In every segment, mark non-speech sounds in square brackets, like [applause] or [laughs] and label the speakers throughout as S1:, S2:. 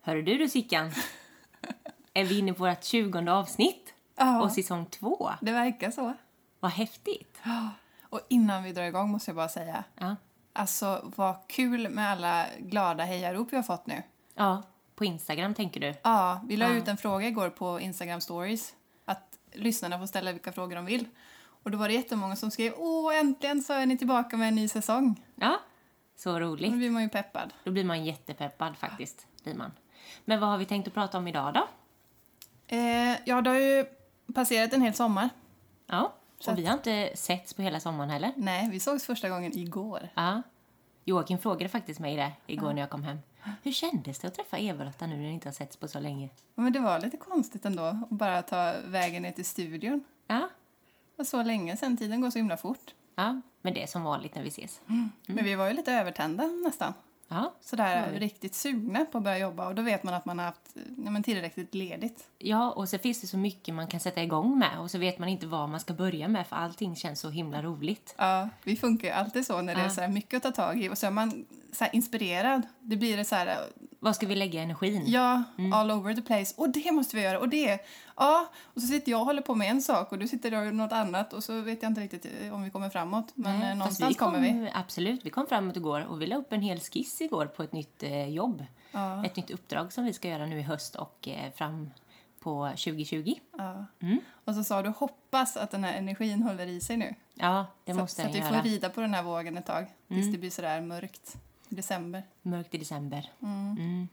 S1: Hör du du Sickan? Är vi inne på vårt tjugonde avsnitt?
S2: Ja.
S1: Och säsong två?
S2: Det verkar så.
S1: Vad häftigt!
S2: Och innan vi drar igång måste jag bara säga,
S1: Ja.
S2: alltså vad kul med alla glada hejarop vi har fått nu.
S1: ja, på Instagram tänker du?
S2: Ja, vi la ut en fråga igår på Instagram stories. Att lyssnarna får ställa vilka frågor de vill. Och då var det jättemånga som skrev Åh, äntligen så är ni tillbaka med en ny säsong.
S1: Ja, så
S2: Då
S1: roligt.
S2: blir man ju peppad.
S1: Då blir man jättepeppad faktiskt, blir man. Men vad har vi tänkt att prata om idag då?
S2: Eh, ja, det har ju passerat en hel sommar.
S1: Ja,
S2: Så
S1: och vi har inte setts på hela sommaren heller.
S2: Nej, vi sågs första gången igår.
S1: Ja. Joakim frågade faktiskt mig det igår när jag kom hem. Hur kändes det att träffa Eva-Lotta nu när ni inte har setts på så länge?
S2: Ja, Men det var lite konstigt ändå att bara ta vägen ner till studion.
S1: Ja,
S2: Det var så länge sen, tiden går så himla fort.
S1: ja. men det är som vanligt när vi ses. Mm.
S2: Men vi var ju lite övertända nästan.
S1: Ja,
S2: Sådär riktigt sugna på att börja jobba och då vet man att man har haft eh, ja, men tillräckligt ledigt.
S1: Ja, och så finns det så mycket man kan sätta igång med och så vet man inte vad man ska börja med för allting känns så himla roligt.
S2: Ja, vi funkar ju alltid så när det är så mycket att ta tag i och så är man så inspirerad. Det blir det så
S1: Var ska vi lägga energin?
S2: ja,
S1: Mm.
S2: all over the place. Och det måste vi göra och det. Ja, och så sitter jag och håller på med en sak och du sitter och gör något annat och så vet jag inte riktigt eh, om vi kommer framåt. Men eh,
S1: Nej, fast
S2: någonstans kommer vi.
S1: Absolut, vi kom framåt igår och vi la upp en hel skiss igår på ett nytt eh, jobb.
S2: Ja.
S1: Ett nytt uppdrag som vi ska göra nu i höst och eh, fram på 2020.
S2: Ja.
S1: Mm.
S2: Och så sa du hoppas att den här energin håller i sig nu.
S1: Ja, det
S2: Så,
S1: måste
S2: så
S1: den
S2: att vi
S1: göra. Mm.
S2: får rida på den här vågen ett tag tills det blir sådär mörkt i december.
S1: Mörkt i december. Mm.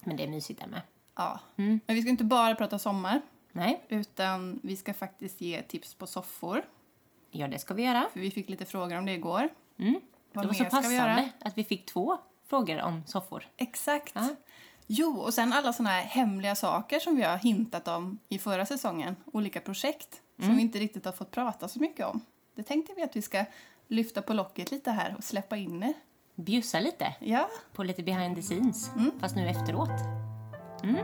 S1: Men det är mysigt där med.
S2: Ja.
S1: Mm.
S2: Men vi ska inte bara prata sommar
S1: Nej,
S2: utan vi ska faktiskt ge tips på soffor.
S1: ja det ska vi göra.
S2: För vi fick lite frågor om det igår.
S1: Mm.
S2: Vad
S1: det var så
S2: mer ska vi göra?
S1: passande att vi fick två frågor om soffor.
S2: Exakt.
S1: Ja.
S2: Jo, och sen alla såna här hemliga saker som vi har hintat om i förra säsongen. Olika projekt
S1: Mm.
S2: som vi inte riktigt har fått prata så mycket om. Det tänkte vi att vi ska lyfta på locket lite här och släppa in er.
S1: Bjussa lite.
S2: Ja,
S1: på lite behind the scenes,
S2: Mm.
S1: fast nu efteråt.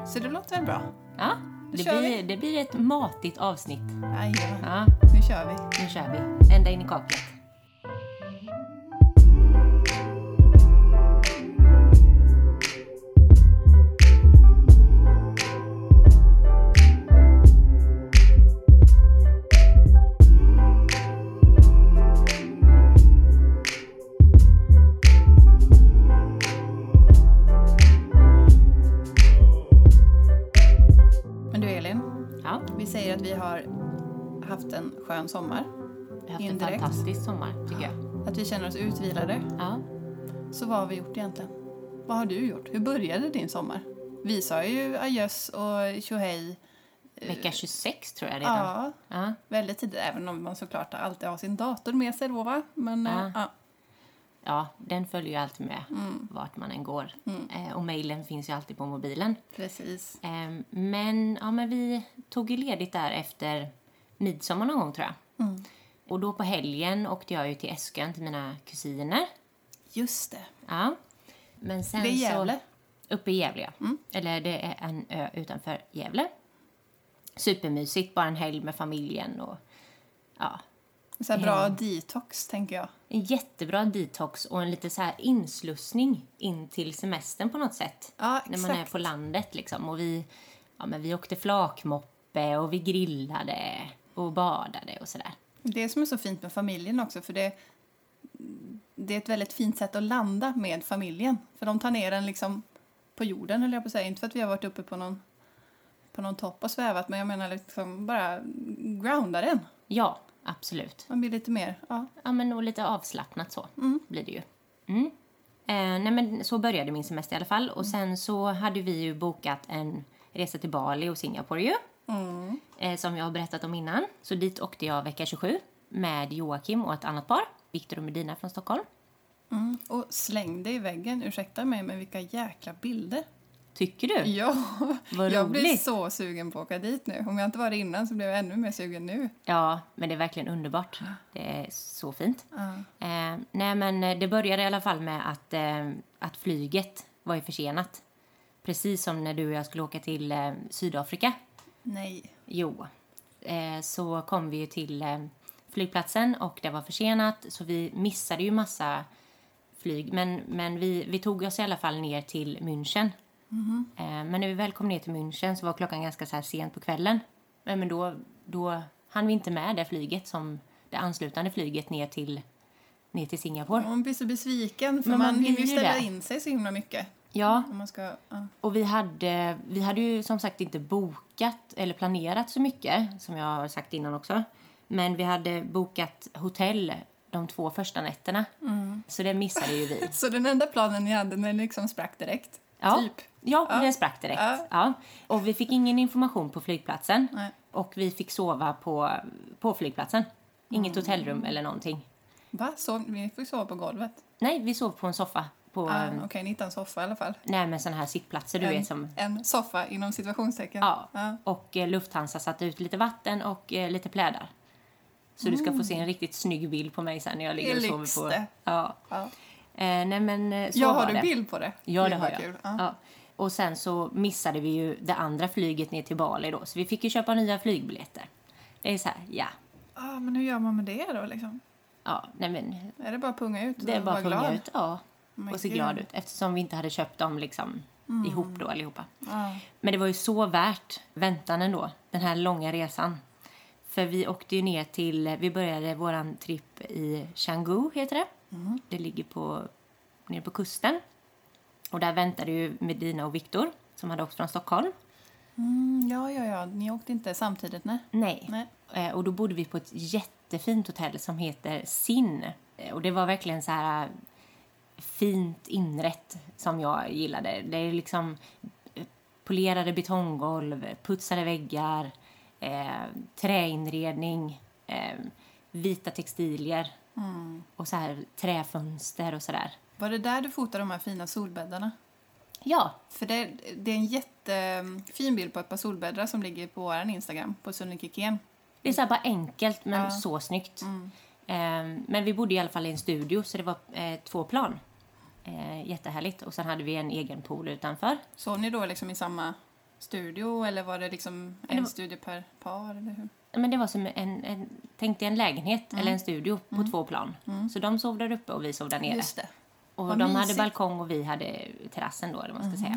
S2: så det låter väl bra?
S1: Ja,
S2: Då
S1: det
S2: kör
S1: blir, det blir ett matigt avsnitt.
S2: Aj, ja.
S1: Ja,
S2: Nu kör vi.
S1: nu kör vi. Ända in i kaklet.
S2: Men du Elin,
S1: Ja,
S2: vi säger att vi har haft en skön sommar.
S1: vi har haft en
S2: Indirekt.
S1: fantastisk sommar tycker jag.
S2: Att vi känner oss utvilade.
S1: Ja.
S2: Så vad har vi gjort egentligen? Vad har du gjort? Hur började din sommar? Vi sa ju adjöss och tjohej.
S1: Vecka 26 tror jag redan.
S2: Eh, Ja,
S1: Ja.
S2: väldigt tidigt. Även om man såklart alltid har sin dator med sig då va? Men
S1: Ja.
S2: eh, ja.
S1: ja, den följer ju alltid med
S2: Mm.
S1: vart man än går. Eh, och mejlen finns ju alltid på mobilen.
S2: precis.
S1: Ehm, Men, ja, men vi tog ju ledigt där efter midsommar någon gång tror jag.
S2: Mm.
S1: Och då på helgen åkte jag ju till Eskön till mina kusiner.
S2: Just det.
S1: Ja. Men sen
S2: Det är Gävle.
S1: Så, uppe i Gävle, ja.
S2: Mm.
S1: Eller det är en ö utanför Gävle. Supermysigt, bara en helg med familjen och ja.
S2: Så här bra detox tänker jag.
S1: En jättebra detox och en lite så här inslussning in till semestern på något sätt.
S2: Ja,
S1: När man är
S2: exakt.
S1: på landet liksom. Och vi, ja, men vi åkte flakmoppe och vi grillade och badade och sådär.
S2: Det som är så fint med familjen också för det, det är ett väldigt fint sätt att landa med familjen. För de tar ner en liksom på jorden eller jag på att säga. Inte för att vi har varit uppe på någon, på någon topp och svävat men jag menar liksom bara groundar den.
S1: Ja, absolut.
S2: Man blir lite mer, ja.
S1: Ja, men och lite avslappnat så blir det ju. Mm. Eh, nej, men så började min semester i alla fall. Och sen så hade vi ju bokat en resa till Bali och Singapore ju. Eh, som jag har berättat om innan. Så dit åkte jag vecka 27 med Joakim och ett annat par. Viktor och Medina från Stockholm.
S2: Och släng dig i väggen, ursäkta mig, men vilka jäkla bilder.
S1: Tycker du?
S2: Ja,
S1: Vad
S2: jag blir
S1: roligt.
S2: så sugen på att åka dit nu. Om jag inte var det innan så blev jag ännu mer sugen nu.
S1: Ja, men det är verkligen underbart. Det är så fint. Eh, nej, men eh, det började i alla fall med att, eh, att flyget var ju försenat. Precis som när du och jag skulle åka till eh, Sydafrika
S2: Nej.
S1: Jo, eh, så kom vi ju till eh, flygplatsen och det var försenat så vi missade ju massa flyg. Men, men vi, vi tog oss i alla fall ner till München Eh, Men när vi väl kom ner till München så var klockan ganska så här sent på kvällen. Eh, Men då, då hann vi inte med det flyget som det anslutande flyget ner till, ner till Singapore.
S2: Man blir så besviken för
S1: Men man
S2: man hinner
S1: blir
S2: ju
S1: ju
S2: ställa
S1: det.
S2: in sig så himla mycket.
S1: Ja,
S2: Om man ska, ja.
S1: och vi hade, vi hade ju som sagt inte bokat eller planerat så mycket, som jag har sagt innan också. Men vi hade bokat hotell de två första nätterna.
S2: Mm.
S1: Så det missade ju
S2: [laughs]
S1: vi.
S2: Så den enda planen ni hade den liksom sprack direkt?
S1: Ja,
S2: Typ.
S1: ja, den sprack direkt.
S2: Ja.
S1: Ja. Och vi fick ingen information på flygplatsen.
S2: Nej.
S1: Och vi fick sova på, på flygplatsen. Inget
S2: Mm.
S1: hotellrum eller någonting.
S2: Va? Sov, ni fick sova på golvet?
S1: Nej, vi sov på en soffa. På,
S2: Ah,
S1: ah.
S2: Okej, ni hittade en soffa i alla fall.
S1: nej, men sådana här sittplatser du
S2: en,
S1: vet som...
S2: en soffa inom situationstecken.
S1: Ja.
S2: Ja.
S1: Och eh, Lufthansa satte ut lite vatten och eh, lite plädar. Så du ska få
S2: Mm.
S1: se en riktigt snygg bild på mig sen när jag ligger
S2: Det
S1: och
S2: lyx
S1: sover på...
S2: det.
S1: Ja.
S2: Ja.
S1: Eh, nej, men eh, så
S2: Ja,
S1: var
S2: har
S1: det.
S2: du bild på det?
S1: Ja, det
S2: Gud,
S1: har
S2: vad
S1: jag.
S2: kul.
S1: Ja.
S2: Ja.
S1: Och sen så missade vi ju det andra flyget ner till Bali då, så vi fick ju köpa nya flygbiljetter. Det är så här, ja.
S2: Ah, men hur gör man med det då liksom?
S1: Ja, nej men
S2: Är det bara att punga ut?
S1: det är
S2: och
S1: bara
S2: vara
S1: att punga
S2: glad?
S1: ut. Ja,
S2: Men
S1: och se
S2: gud. Mm.
S1: glad ut eftersom vi inte hade köpt dem liksom ihop då allihopa.
S2: Ja.
S1: Men det var ju så värt väntan ändå, den här långa resan. För vi åkte ju ner till, vi började våran tripp i Canggu heter det. Det ligger på, nere på kusten. Och där väntade ju Medina och Viktor som hade åkt från Stockholm.
S2: Mm, ja, ja, ja. Ni åkte inte samtidigt, nej?
S1: Nej.
S2: Nej.
S1: Eh, Och då bodde vi på ett jättefint hotell som heter Sin. Eh, Och det var verkligen så här eh, fint inrett som jag gillade. Det är liksom eh, polerade betonggolv, putsade väggar, eh, träinredning, eh, vita textilier och så här träfönster och sådär.
S2: Var det där du fotade de här fina solbäddarna?
S1: Ja,
S2: För det, det är en jättefin bild på ett par solbäddar som ligger på vår Instagram, på Sunne Kikén.
S1: Det är så här bara enkelt men
S2: Ja. Mm.
S1: så snyggt. Ehm, men vi bodde i alla fall i en studio så det var eh, två plan. Eh, jättehärligt. Och sen hade vi en egen pool utanför.
S2: Sov ni då liksom i samma studio eller var det liksom en
S1: det var-
S2: studio per par? Eller hur?
S1: Men det var som en, en tänk dig en lägenhet
S2: Mm.
S1: eller en studio på två plan. Så de sov där uppe och vi sov där nere.
S2: Just det.
S1: Och
S2: Vad
S1: de hade
S2: mysigt. Mm.
S1: balkong och vi hade terrassen då, eller vad man ska säga.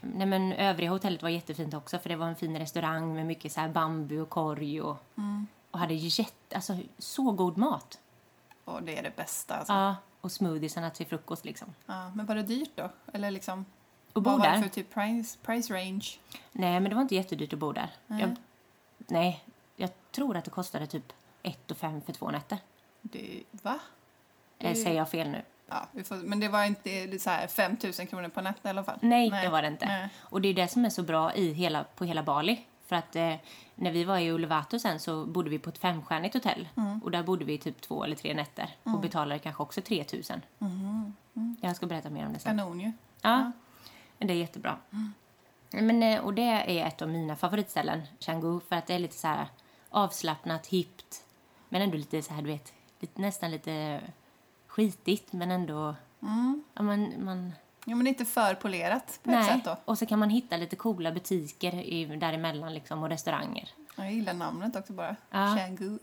S1: Nej, men övriga hotellet var jättefint också för det var en fin restaurang med mycket så här bambu och korg och,
S2: Mm.
S1: och hade jätte, alltså så god mat.
S2: Och det är det bästa. Alltså. Ja.
S1: Ja, och smoothiesarna till frukost liksom.
S2: men var det dyrt då? Eller liksom,
S1: Och
S2: vad
S1: bo
S2: var
S1: där?
S2: det för typ price, price range?
S1: Nej, men det var inte jättedyrt att bo där.
S2: Nej.
S1: Jag, nej, jag tror att det kostade typ 1 5 för två nätter.
S2: Det, va?
S1: Eh,
S2: Det-
S1: Säger jag fel nu?
S2: Ja, vi får, men det var inte det är så här 5 000 kronor på natten i alla fall?
S1: Nej, det var det inte.
S2: Nej.
S1: Och det är det som är så bra i hela, på hela Bali. För att eh, när vi var i Uluwatu sen så bodde vi på ett femstjärnigt hotell.
S2: Mm.
S1: Och där bodde vi typ två eller tre nätter. Och betalade kanske också 3 000.
S2: Mm.
S1: Jag ska berätta mer om det sen.
S2: Kanon ju.
S1: Ja, men det är jättebra. Men, eh, och det är ett av mina favoritställen, Canggu, för att det är lite så här avslappnat, hippt, men ändå lite så här, du vet, lite, nästan lite skitigt, men ändå... Ja, man, man,
S2: Ja, men inte för polerat Mm. på ett
S1: nej.
S2: sätt då.
S1: Och så kan man hitta lite coola butiker i, däremellan liksom, och restauranger.
S2: Ja, Jag gillar namnet också bara.
S1: Ja.
S2: [laughs] Changu.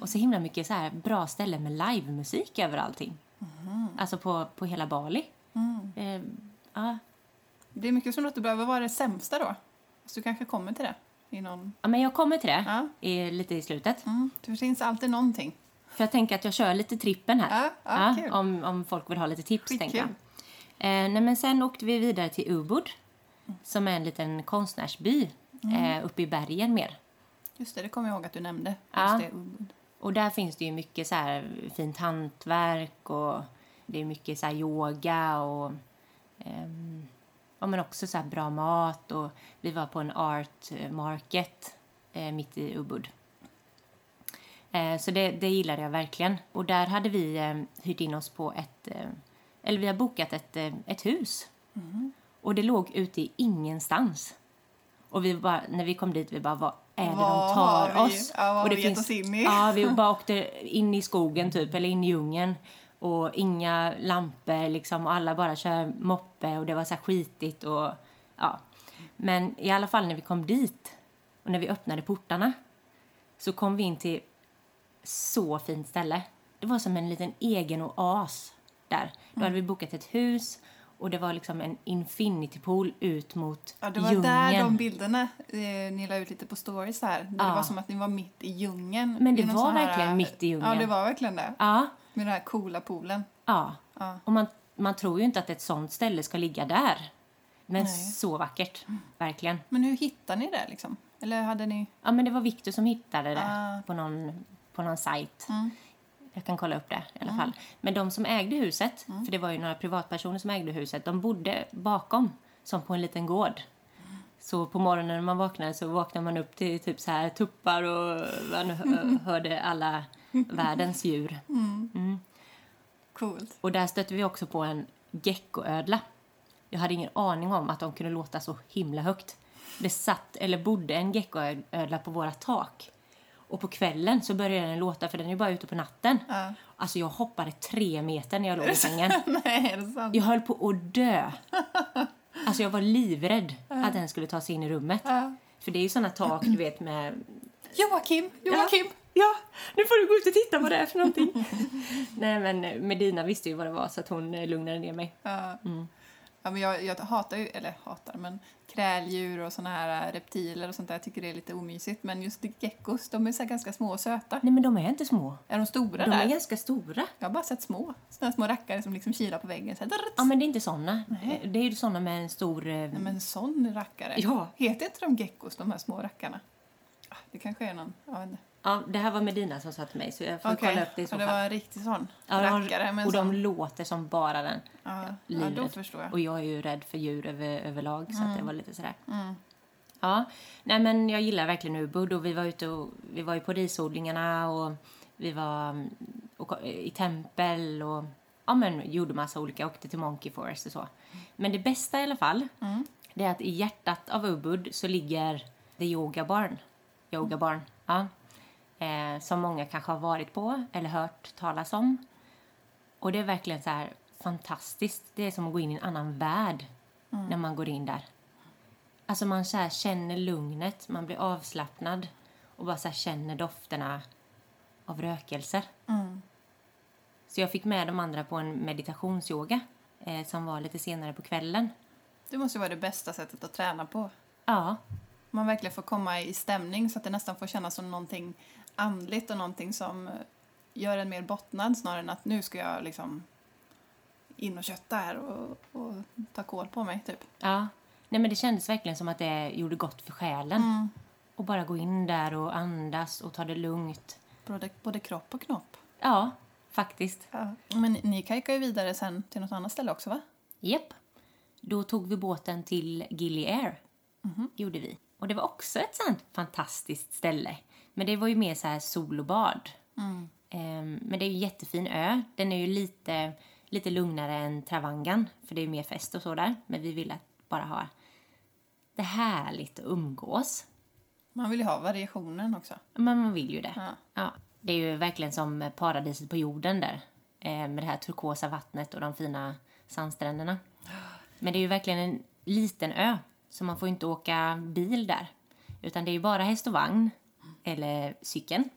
S1: Och så himla mycket så här bra ställen med livemusik över allting.
S2: Mm.
S1: Alltså på, på hela Bali. Eh, ja.
S2: Det är mycket som låter bra. Vad var det sämsta då? Så du kanske kommer till det? I någon...
S1: ja, men jag kommer till det
S2: Ja.
S1: i, lite i slutet.
S2: Mm. Det finns alltid någonting.
S1: För jag tänker att jag kör lite trippen här.
S2: Ja, ja, kul.
S1: om, om folk vill ha lite tips,
S2: Skitkul.
S1: tänker jag. Eh, nej, men sen åkte vi vidare till Ubud, som är en liten konstnärsby
S2: Mm.
S1: eh, uppe i bergen mer.
S2: Just det, det kommer jag ihåg att du nämnde.
S1: Ja.
S2: Just det, Ubud.
S1: Och där finns det ju mycket så här fint hantverk och det är mycket så här yoga och ehm, ja, men också så här bra mat. Och vi var på en art market eh, mitt i Ubud. Eh, så det, det gillade jag verkligen. Och där hade vi eh, hyrt in oss på ett, eh, eller vi har bokat ett, eh, ett hus.
S2: Mm.
S1: Och det låg ute i ingenstans. Och vi bara, när vi kom dit, vi bara, vad är det
S2: Vad
S1: de tar
S2: har vi-
S1: oss?
S2: ja, vad har
S1: och det
S2: vi gett oss in i?
S1: Ja,
S2: [laughs]
S1: vi bara åkte in i skogen typ, eller in i djungeln. Och inga lampor liksom, och alla bara kör moppe och det var så här skitigt och ja. Men i alla fall när vi kom dit och när vi öppnade portarna så kom vi in till så fint
S2: Mm.
S1: ställe. Det var som en liten egen oas där. Då hade vi bokat ett hus Och det var liksom en infinity pool ut mot
S2: Ja, det var
S1: djungeln.
S2: där de bilderna eh, ni la ut lite på stories här. Där Det
S1: Ja.
S2: var som att ni var mitt i djungeln.
S1: Men det
S2: I någon
S1: var
S2: sån eh,
S1: verkligen mitt i djungeln.
S2: Ja, det var verkligen det.
S1: Ja,
S2: Med den här coola poolen.
S1: ja.
S2: Ja.
S1: Och man, man tror ju inte att ett sånt ställe ska ligga där. Men
S2: Nej. Mm.
S1: så vackert, verkligen.
S2: Men hur hittade ni det liksom? Eller hade ni...
S1: Ja, men det var Victor som hittade det
S2: Ah.
S1: på, någon, på någon sajt.
S2: Mm.
S1: Jag kan kolla upp det i alla fall. Men de som ägde huset,
S2: Mm.
S1: för det var ju några privatpersoner som ägde huset, de bodde bakom, som på en liten gård. Så på morgonen när man vaknade så vaknade man upp till typ så här tuppar och man hö-
S2: [laughs]
S1: hörde alla världens djur.
S2: Coolt. [laughs]
S1: Och där stötte vi också på en geckoödla. Jag hade ingen aning om att de kunde låta så himla högt. Det satt, eller bodde en geckoödla på våra tak. Och på kvällen så började den låta, för den är ju bara ute på natten.
S2: Ja.
S1: Alltså jag hoppade tre meter när jag låg i sängen.
S2: Nej, är det sant?
S1: Jag höll på att dö. Alltså jag var livrädd att den skulle ta sig in i rummet.
S2: Ja.
S1: För det är ju såna tak, du vet, med
S2: Joakim! Joakim!
S1: Ja, nu får du gå ut och titta vad det är för någonting. [laughs] Nej men Medina visste ju vad det var så att hon eh, lugnade ner mig.
S2: Ja.
S1: Mm.
S2: Ja, men jag, jag hatar ju, eller hatar, men kräldjur och såna här eh, reptiler och sånt där. Jag tycker det är lite omysigt. Men just geckos, de är så här ganska små och söta.
S1: Nej men de är inte små.
S2: Är de stora
S1: De
S2: där?
S1: är ganska stora.
S2: Jag har bara sett små. Såna små rackare som liksom kilar på väggen. Så här, drrrt.
S1: Ja men det är inte såna. Eh, Det är ju såna med en stor... eh,
S2: Nej, men sån rackare.
S1: Ja.
S2: Heter inte de geckos, de här små rackarna? Ah, Det kanske är någon, jag vet inte.
S1: Ja, det här var Medina som sa till mig så jag får kolla upp det i så
S2: ja, det
S1: fall.
S2: var en riktig sån
S1: Ja, de-
S2: rackare. Men
S1: och de
S2: sån,
S1: låter som bara den.
S2: ja, ja,
S1: livet.
S2: då förstår jag.
S1: Och jag är ju rädd för djur över, överlag så att det var lite sådär. Ja, nej men jag gillar verkligen Ubud och vi var ute och vi var ju på risodlingarna och vi var mm, och, ko- i tempel och ja men gjorde massa olika, åkte till Monkey Forest och så. Men det bästa i alla fall, det är att i hjärtat av Ubud så ligger The Yoga Barn. Yoga Barn, ja. Eh, som många kanske har varit på eller hört talas om. Och det är verkligen så här fantastiskt. Det är som att gå in i en annan värld när man går in där. Alltså man så här känner lugnet, man blir avslappnad och bara så här känner dofterna av rökelser.
S2: Mm.
S1: Så jag fick med de andra på en meditationsyoga eh, som var lite senare på kvällen.
S2: Det måste ju vara det bästa sättet att träna på.
S1: Ja,
S2: Man verkligen får komma i stämning så att det nästan får kännas som någonting andligt och någonting som eh, gör en mer bottnad snarare än att nu ska jag liksom in och kötta här och, och ta koll på mig typ.
S1: ja. Nej men det kändes verkligen som att det gjorde gott för själen. Och bara gå in där och andas och ta det lugnt.
S2: Både, både kropp och knopp.
S1: Ja, faktiskt.
S2: Men ni kajkar ju vidare sen till något annat ställe också va?
S1: Japp. Då tog vi båten till Gili Air. Gjorde vi. Och det var också ett sånt fantastiskt ställe. Men det var ju mer så här sol och bad. Ehm, men det är ju en jättefin ö. Den är ju lite, lite lugnare än Travangan. För det är ju mer fest och så där. Men vi ville att bara ha det härligt att umgås.
S2: Man vill ju ha variationen också.
S1: Men man vill ju det.
S2: Ja.
S1: Det är ju verkligen som paradiset på jorden där. eh, Med det här turkosa vattnet och de fina sandstränderna. Men det är ju verkligen en liten ö. Så man får ju inte åka bil där. Utan det är ju bara häst och vagn. Eller cykeln.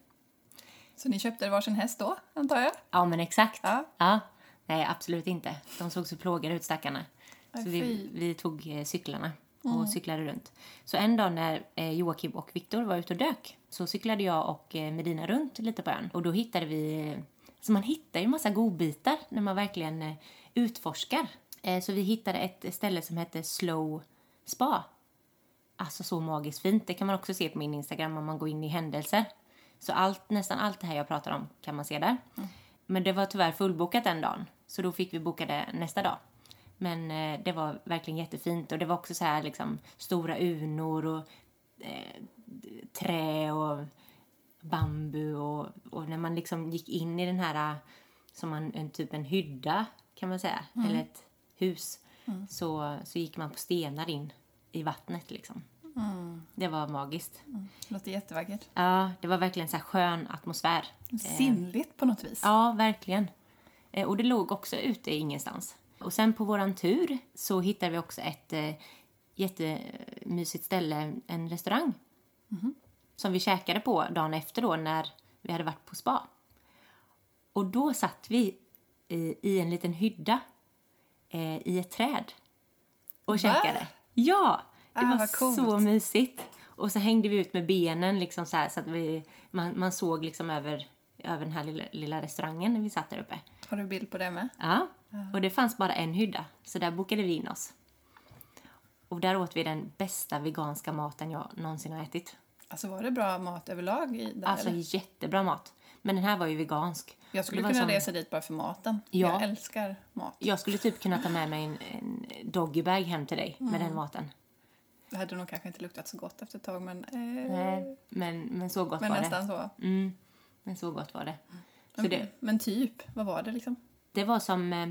S2: Så ni köpte varsin häst då, antar jag?
S1: Ja men exakt.
S2: Ja.
S1: Nej absolut inte. De såg så plågade ut stackarna.
S2: Aj,
S1: Så
S2: fy. Mm.
S1: vi, vi tog eh, cyklarna och cyklade runt. Så en dag när eh, Joakim och Viktor var ute och dök så cyklade jag och eh, Medina runt lite på ön. Och då hittade vi... eh, Så man hittar ju massa godbitar när man verkligen eh, utforskar. Eh, Så vi hittade ett ställe som hette Slow Spa. Alltså så magiskt fint. Det kan man också se på min Instagram om man går in i händelser. Så allt, nästan allt det här jag pratar om kan man se där. Men det var tyvärr fullbokat den dagen. Så då fick vi boka det nästa dag. Men eh, det var verkligen jättefint. Och det var också så här liksom stora urnor och eh, d- trä och bambu. Och, och när man liksom gick in i den här eh, som en, en typ en hydda kan man säga. Eller ett hus. Så, så gick man på stenar in i vattnet liksom. Det var magiskt.
S2: Låter jättevackert.
S1: Ja, det var verkligen så här skön atmosfär.
S2: Sinnligt på något vis.
S1: Eh. Ja, verkligen. Eh, Och det låg också ute i ingenstans. Och sen på våran tur så hittade vi också ett eh, jättemysigt ställe, en restaurang. Mhm. Som vi käkade på dagen efter då när vi hade varit på spa. Och då satt vi i, i en liten hydda eh, i ett träd och käkade. Ja, det
S2: Ah,
S1: var
S2: vad coolt.
S1: så mysigt. Och så hängde vi ut med benen liksom så, här, så att vi, man, man såg liksom över, över den här lilla, lilla restaurangen när vi satt där uppe.
S2: Har du bild på det med?
S1: Ja,
S2: Ah.
S1: och det fanns bara en hydda, så där bokade vi in oss. Och där åt vi den bästa veganska maten jag någonsin har ätit.
S2: Alltså var det bra mat överlag i där?
S1: Alltså
S2: eller?
S1: jättebra mat. Men den här var ju vegansk.
S2: Jag skulle
S1: Det var
S2: kunna
S1: som-
S2: resa dit bara för maten.
S1: Ja.
S2: Jag älskar mat.
S1: Jag skulle typ kunna ta med mig en, en doggybag hem till dig
S2: Mm.
S1: med den maten.
S2: Det hade nog kanske inte luktat så gott efter ett tag men, eh,
S1: Nej, men, men så gott
S2: men
S1: var
S2: nästan så.
S1: det. Mm, men så gott var det. Så det,
S2: Men typ, vad var det liksom?
S1: det var som eh,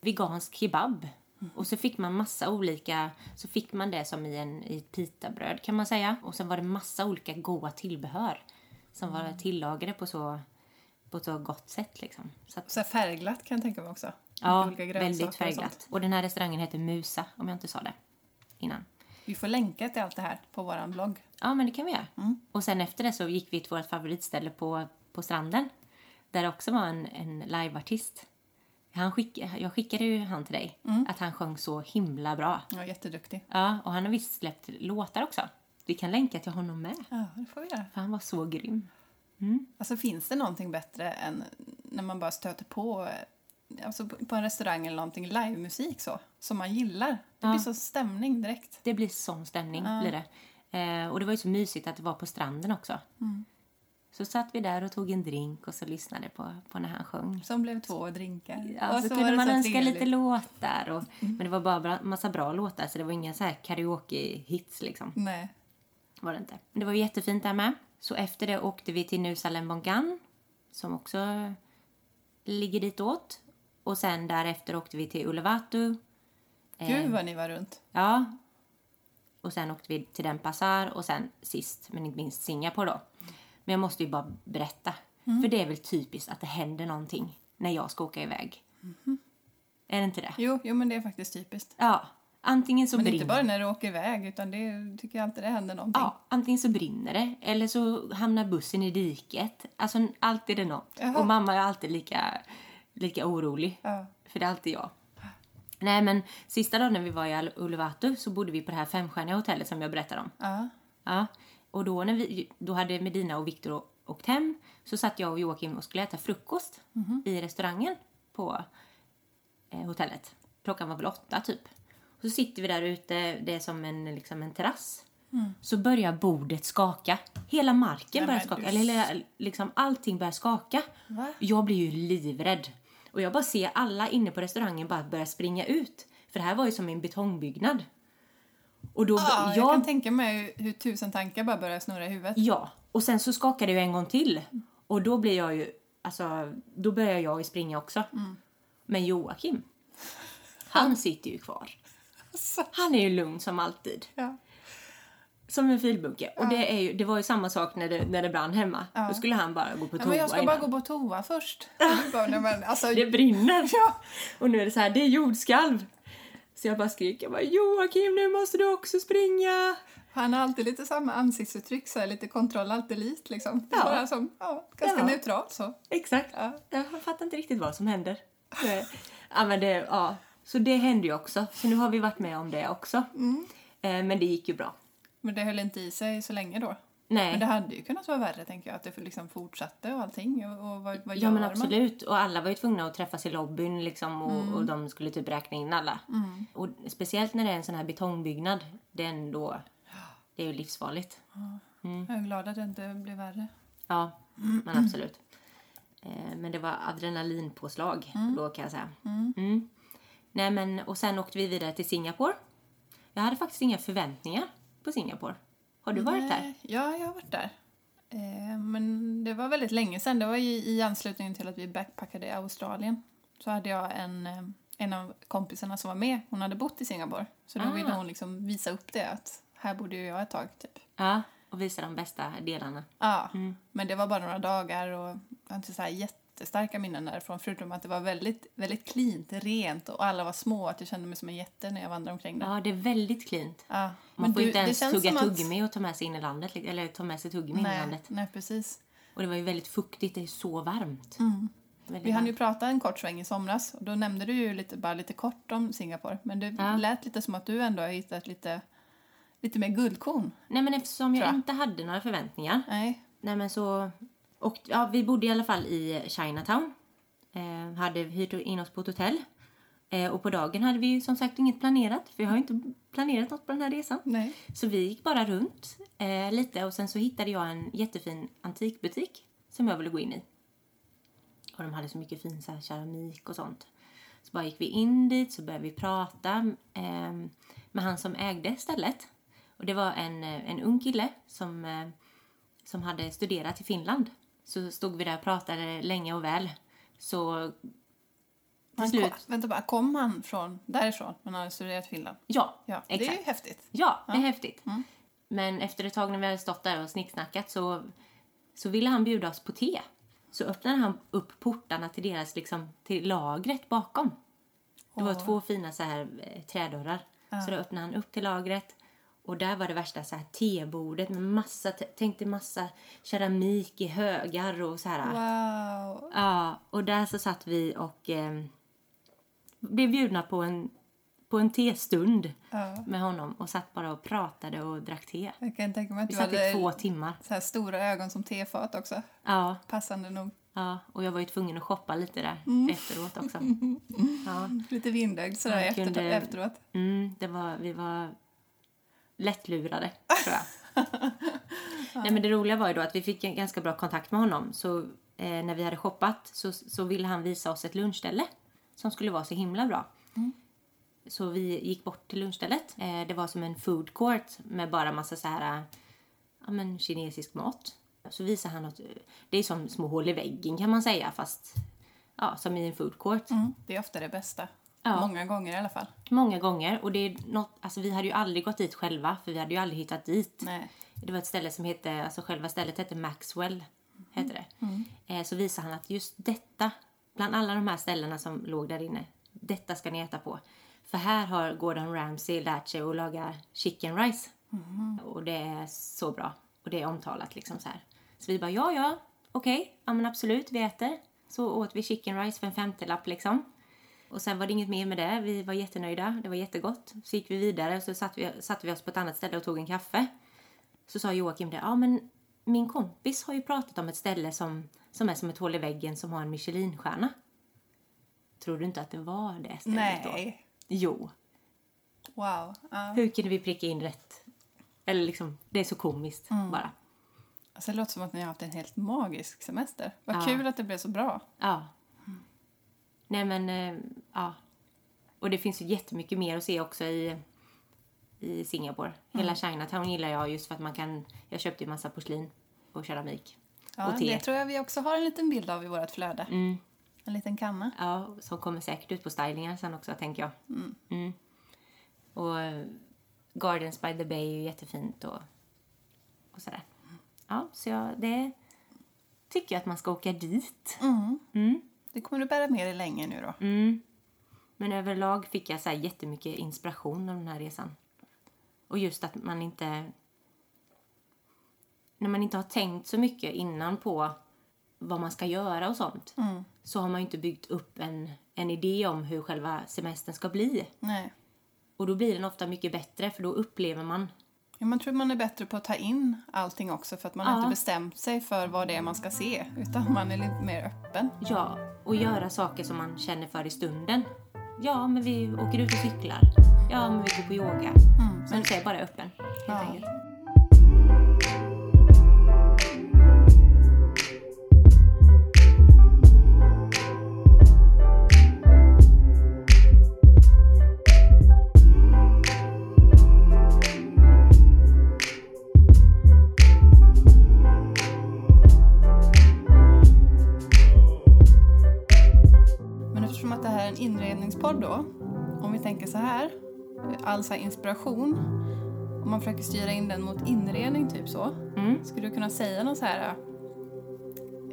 S1: vegansk kebab. Och så fick man massa olika, så fick man det som i, en, i ett pitabröd kan man säga. Och sen var det massa olika goda tillbehör som var tillagade på så, på ett så gott sätt liksom. Så att,
S2: Så här färgglatt kan jag tänka mig också. Med
S1: ja,
S2: olika grönsaker
S1: väldigt
S2: och sånt.
S1: färgglatt. Och den här restaurangen heter Musa, om jag inte sa det innan.
S2: Vi får länka till allt det här på våran blogg.
S1: Ja, men det kan vi göra. Och sen efter det så gick vi till vårt favoritställe på, på stranden. Där det också var en, en liveartist. Han skick, jag skickade ju han till dig. Att han sjöng så himla bra.
S2: Ja, jätteduktig.
S1: Ja, och han har visst släppt låtar också. Vi kan länka till honom med.
S2: Ja, det får vi göra.
S1: För han var så grym.
S2: Alltså finns det någonting bättre än när man bara stöter på eh, alltså på på en restaurang eller någonting, livemusik så, som man gillar. Det blir så stämning direkt.
S1: Det blir sån stämning. Blir det. Eh, och det var ju så mysigt att det var på stranden också. Så satt vi där och tog en drink och så lyssnade på, på när han sjöng.
S2: Som blev två drinkar.
S1: Ja, så,
S2: var
S1: Alltså, kunde
S2: det
S1: man
S2: Alltså, så
S1: önska
S2: trevligt. Mm.
S1: lite låtar. Och, Men det var bara bra, massa bra låtar, så det var inga så här karaoke-hits liksom.
S2: Nej.
S1: Var det inte. Men det var ju jättefint där med. Så efter det åkte vi till Nusa Lembongan, som också ligger ditåt. Och sen därefter åkte vi till Ulevatu. Eh.
S2: Gud vad ni var runt.
S1: Ja. Och sen åkte vi till Denpasar och sen sist men inte minst Singapore då. Men jag måste ju bara berätta.
S2: Mm.
S1: För det är väl typiskt att det händer någonting när jag ska åka iväg.
S2: Mm-hmm.
S1: Är det inte det?
S2: Jo, jo, men det är faktiskt typiskt.
S1: Ja, antingen så
S2: Men
S1: brinner
S2: inte bara när du åker iväg, utan det tycker jag alltid det händer någonting.
S1: Ja, antingen så brinner det eller så hamnar bussen i diket. Alltså alltid är det något.
S2: Jaha.
S1: Och mamma är alltid lika, lika orolig.
S2: Ja.
S1: För det är alltid jag. Nej men sista dagen när vi var i Uluvatu så bodde vi på det här femstjärniga hotellet som jag berättade om.
S2: Ja.
S1: Ja, och då, när vi, då hade Medina och Viktor å- åkt hem så satt jag och Joakim och skulle äta frukost
S2: Mhm.
S1: i restaurangen på eh, hotellet. Klockan var väl åtta typ. Och så sitter vi där ute, det är som en, liksom en terrass. Så börjar bordet skaka. Hela marken
S2: Mm. Nej,
S1: börjar
S2: men
S1: skaka.
S2: du-
S1: Eller hela, liksom, allting börjar skaka.
S2: Va?
S1: Jag blir ju livrädd. Och jag bara ser alla inne på restaurangen bara börja springa ut. För det här var ju som en betongbyggnad. Och då,
S2: Ja, Ah, jag, kan tänka mig hur tusen tankar bara börjar snurra i huvudet.
S1: Ja, och sen så skakar det ju en gång till. Och då blir jag ju, alltså, då börjar jag ju springa också.
S2: Mm.
S1: Men Joakim, han sitter ju kvar.
S2: Alltså.
S1: Han är ju lugn som alltid.
S2: Ja.
S1: Som en filbunke. Och det, är ju, det var ju samma sak när det, när det brann hemma. Då skulle han bara gå på
S2: Ja,
S1: toa
S2: men jag ska
S1: innan.
S2: bara gå på toa först. Och du bara, nej, men, alltså,
S1: Det brinner.
S2: Ja.
S1: Och nu är det så här, det är jordskalv. Så jag bara skriker, jag bara, Joakim nu måste du också springa.
S2: Han har alltid lite samma ansiktsuttryck, så här, lite kontroll allt elit liksom. Det är
S1: Ja.
S2: bara som, ja, ganska
S1: Ja.
S2: neutralt så.
S1: Exakt.
S2: Ja.
S1: Jag fattar inte riktigt vad som händer. Det- Ja, men det, ja. Så det hände ju också. Så nu har vi varit med om det också.
S2: Mm.
S1: Eh, Men det gick ju bra.
S2: Men det höll inte i sig så länge då.
S1: Nej.
S2: Men det hade ju kunnat vara värre tänker jag, att det liksom fortsatte och allting. Och, och vad, vad
S1: Ja
S2: gör
S1: men
S2: man?
S1: absolut. Och alla var ju tvungna att träffas i lobbyn liksom och,
S2: Mm.
S1: och de skulle typ räkna in alla. Och speciellt när det är en sån här betongbyggnad. Det är ändå... Det är ju livsfarligt. Mm.
S2: Jag är glad att det inte blev värre.
S1: Ja, men absolut. Eh, Men det var adrenalinpåslag då kan jag säga. Mm. Nej, men, och sen åkte vi vidare till Singapore. Jag hade faktiskt inga förväntningar på Singapore. Har du varit där?
S2: Nej, Eh, Ja, jag har varit där. Eh, men det var väldigt länge sedan. Det var i, i anslutning till att vi backpackade i Australien. Så hade jag en, eh, en av kompisarna som var med, hon hade bott i Singapore. Så då
S1: Ah.
S2: ville hon liksom visa upp det, att här bodde ju jag ett tag typ.
S1: Ja, och visa de bästa delarna.
S2: Ja,
S1: Mm.
S2: men det var bara några dagar och jag har inte så här jättestarka minnen därifrån förutom att det var väldigt, väldigt cleant, rent och alla var små att jag kände mig som en jätte när jag vandrade omkring där.
S1: Ja, det är väldigt cleant.
S2: Ja.
S1: Man får
S2: du-
S1: inte ens
S2: känns
S1: tugga
S2: som att-
S1: tuggummi och ta med sig in i landet. li- Eller ta med sig tuggummi in i
S2: Nej,
S1: landet.
S2: nej, precis.
S1: Och det var ju väldigt fuktigt, det är så varmt. Väldigt
S2: Mm. Vi hann ju
S1: varmt.
S2: prata en kort sväng i somras och då nämnde du ju lite, bara lite kort om Singapore. Men det
S1: Ja.
S2: lät lite som att du ändå har hittat lite, lite mer guldkorn.
S1: Nej, men eftersom jag
S2: Tror jag.
S1: inte hade några förväntningar.
S2: Nej.
S1: Nej, men så... Och, ja, vi bodde i alla fall i Chinatown. Eh, hade hyrt in oss på ett hotell. Eh, och på dagen hade vi ju som sagt inget planerat. För jag har ju inte planerat något på den här resan.
S2: Nej.
S1: Så vi gick bara runt eh, lite och sen så hittade jag en jättefin antikbutik som jag ville gå in i. Och de hade så mycket fin så här, keramik och sånt. Så bara gick vi in dit så började vi prata eh, med han som ägde stället. Och det var en, eh, en ung kille som, eh, som hade studerat i Finland. Så stod vi där och pratade länge och väl. Så
S2: Han
S1: till slut...
S2: kom, vänta bara, kom han från därifrån? Men han hade studerat Finland.
S1: Ja,
S2: Ja,
S1: exakt.
S2: det är ju häftigt.
S1: Ja, det är häftigt. Men efter ett tag när vi hade stått där och snicksnackat så, så ville han bjuda oss på te. Så öppnade han upp portarna till deras, liksom, till lagret bakom. Det var två fina så här eh, trädörrar. Så då öppnade han upp till lagret. Och där var det värsta så här tebordet med massa, t- tänk dig massa keramik i högar och så här.
S2: Wow.
S1: Ja, och där så satt vi och eh, blev bjudna på en, på en testund
S2: Ja.
S1: med honom och satt bara och pratade och drack te.
S2: Jag kan tänka mig att
S1: Vi
S2: du
S1: satt i två
S2: hade
S1: timmar.
S2: så här stora ögon som tefat också.
S1: Ja,
S2: Passande nog.
S1: ja, och jag var ju tvungen att shoppa lite där
S2: Mm.
S1: efteråt också.
S2: [laughs]
S1: Ja,
S2: Lite vindögd sådär
S1: Han
S2: efter,
S1: kunde-
S2: efteråt.
S1: mm, det var, vi var lättlurade, tror jag. Nej, men det roliga var ju då att vi fick en ganska bra kontakt med honom. Så eh, när vi hade shoppat så, så ville han visa oss ett lunchställe som skulle vara så himla bra. Så vi gick bort till lunchstället. Eh, det var som en food court med bara massa så här, eh, ja men kinesisk mat. Så visar han att eh, det är som små hål i väggen kan man säga fast ja, som i en food court.
S2: Mm. Det är ofta det bästa.
S1: Ja.
S2: Många gånger i alla fall.
S1: Många gånger och det är något, alltså vi hade ju aldrig gått dit själva för vi hade ju aldrig hittat dit.
S2: Nej.
S1: Det var ett ställe som hette, alltså själva stället hette Maxwell. Hette det. Eh, så visade han att just detta, bland alla de här ställena som låg där inne, detta ska ni äta på. För här har Gordon Ramsay lärt sig att laga chicken rice. Mm. Och det är så bra. Och det är omtalat liksom så här. Så vi bara, ja, ja, okej, ja men absolut, vi äter. Så åt vi chicken rice för en femtelapp liksom. Och sen var det inget mer med det. Vi var jättenöjda. Det var jättegott. Så gick vi vidare så satte vi, satte vi oss på ett annat ställe och tog en kaffe. Så sa Joakim det. Ja, men min kompis har ju pratat om ett ställe som, som är som ett hål i väggen som har en Michelinstjärna. Tror du inte att det var det stället då?
S2: Nej.
S1: Jo.
S2: Wow. Ja.
S1: Hur kunde vi pricka in rätt? Eller liksom, det är så komiskt
S2: Mm.
S1: bara.
S2: Alltså, det låter som att ni har haft en helt magisk semester. Vad
S1: Ja.
S2: kul att det blev så bra.
S1: Ja. Nej men, eh, ja. Och det finns ju jättemycket mer att se också i, i Singapore.
S2: Mm.
S1: Hela Chinatown gillar jag just för att man kan, jag köpte ju massa porslin och keramik.
S2: Ja,
S1: och te.
S2: det tror jag vi också har en liten bild av i vårt flöde. En liten kanna.
S1: Ja, som kommer säkert ut på stylingar sen också tänker jag. Mm. Och eh, Gardens by the Bay är ju jättefint och, och sådär. Ja, så jag, det tycker jag att man ska åka dit.
S2: Mm. Det kommer du bära med dig länge nu
S1: Mm.
S2: då.
S1: Men överlag fick jag så här jättemycket inspiration av den här resan. Och just att man inte... När man inte har tänkt så mycket innan på vad man ska göra och sånt så har man ju inte byggt upp en, en idé om hur själva semestern ska bli.
S2: Nej.
S1: Och då blir den ofta mycket bättre för då upplever man
S2: Ja, man tror man är bättre på att ta in allting också för att man har
S1: Ja.
S2: inte bestämt sig för vad det är man ska se utan man är lite mer öppen.
S1: Ja, och göra saker som man känner för i stunden. Ja, men vi åker ut och cyklar. Ja, men vi går på yoga. Så men... det är bara öppen, helt
S2: Ja.
S1: enkelt.
S2: Men eftersom att det här är en inredningspodd då, om vi tänker så här, all så här inspiration, om man försöker styra in den mot inredning typ så,
S1: Mm.
S2: skulle du kunna säga något så här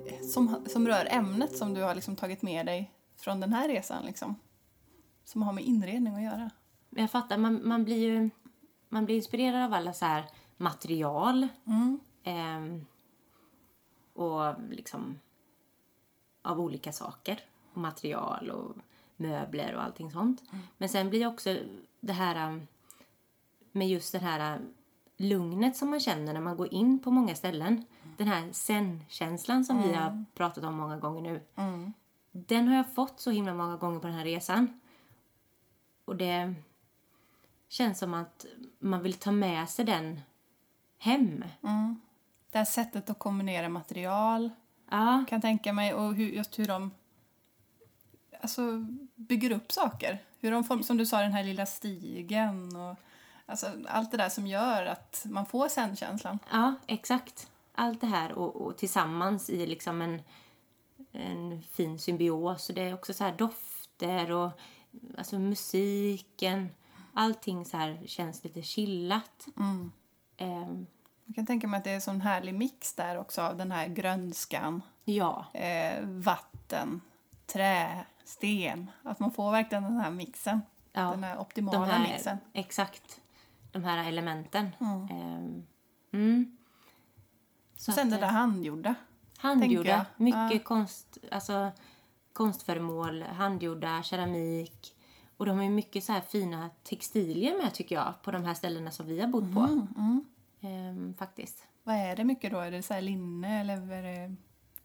S2: eh, som, som rör ämnet som du har liksom tagit med dig från den här resan liksom? Som har med inredning att göra?
S1: Men jag fattar, man, man blir ju man blir inspirerad av alla så här material. Ehm, och liksom av olika saker. Och material och möbler och allting sånt. Men sen blir också det här um, med just det här um, lugnet som man känner när man går in på många ställen. Den här sen-känslan som vi har pratat om många gånger nu. Den har jag fått så himla många gånger på den här resan. Och det känns som att man vill ta med sig den hem.
S2: Det här sättet att kombinera material
S1: Ja,
S2: kan jag tänka mig och hur, just hur de alltså, bygger upp saker. Hur de form, som du sa, den här lilla stigen och alltså, allt det där som gör att man får sen-känslan.
S1: ja exakt. Allt det här och, och tillsammans i liksom en, en fin symbios. Och det är också så här dofter och alltså musiken. Allting så här känns lite chillat.
S2: Mm.
S1: Ehm,
S2: Jag kan tänka mig att det är en sån härlig mix där också av den här grönskan,
S1: ja,
S2: eh, vatten, trä, sten. Att man får verkligen den här mixen.
S1: Ja,
S2: Den här
S1: de
S2: optimala
S1: här,
S2: mixen.
S1: exakt. De här elementen. Ehm, mm. Så
S2: Och sen
S1: att,
S2: det
S1: eh,
S2: där handgjorda.
S1: Handgjorda.
S2: tänker jag.
S1: Mycket konst, alltså, konstföremål, handgjorda, keramik. Och de har ju mycket så här fina textilier med tycker jag på de här ställena som vi har bott på.
S2: Mm,
S1: Ehm, faktiskt.
S2: Vad är det mycket då? Är det så här linne eller är det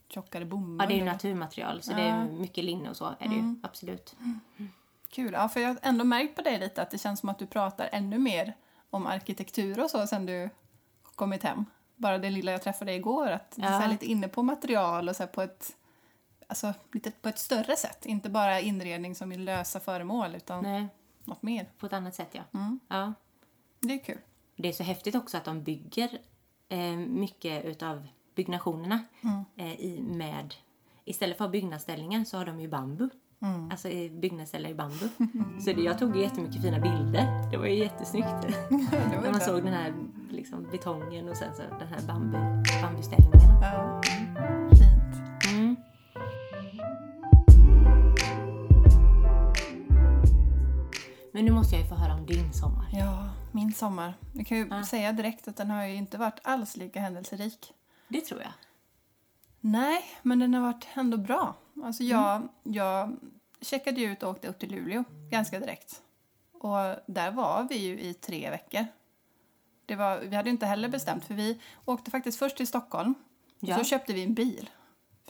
S2: tjockare bomull?
S1: Ja, det är ju
S2: eller?
S1: naturmaterial så det är mycket linne och så är det
S2: Mm.
S1: ju. Absolut.
S2: Kul. Ja, för jag har ändå märkt på dig lite att det känns som att du pratar ännu mer om arkitektur och så sen du kommit hem. Bara det lilla jag träffade dig igår, att du är så här
S1: Ja.
S2: lite inne på material och så här på ett Alltså lite på ett större sätt, inte bara inredning som är lösa föremål utan
S1: Nej,
S2: något mer.
S1: på ett annat sätt ja.
S2: Mm.
S1: ja.
S2: Det är kul.
S1: Det är så häftigt också att de bygger eh, mycket utav byggnationerna
S2: Mm.
S1: eh, i, med... Istället för att ha byggnadsställningar så har de ju bambu.
S2: Mm.
S1: Alltså eh, byggnadsställningar i
S2: [laughs]
S1: bambu. så det, jag tog ju jättemycket fina bilder. Det var ju [laughs] jättesnyggt.
S2: Det var
S1: När man
S2: så.
S1: såg den här liksom, betongen och sen så den här bambu, bambuställningen.
S2: Ja. Fint.
S1: Mm. Men nu måste jag ju få höra om din sommar.
S2: Ja, min sommar. Jag kan ju säga direkt att den har ju inte varit alls lika händelserik.
S1: Det tror jag.
S2: Nej, men den har varit ändå bra. Alltså jag,
S1: Mm.
S2: jag checkade ju ut och åkte upp till Luleå ganska direkt. Och där var vi ju i tre veckor. Det var, vi hade ju inte heller bestämt, för vi åkte faktiskt först till Stockholm.
S1: Ja.
S2: Och så köpte vi en bil.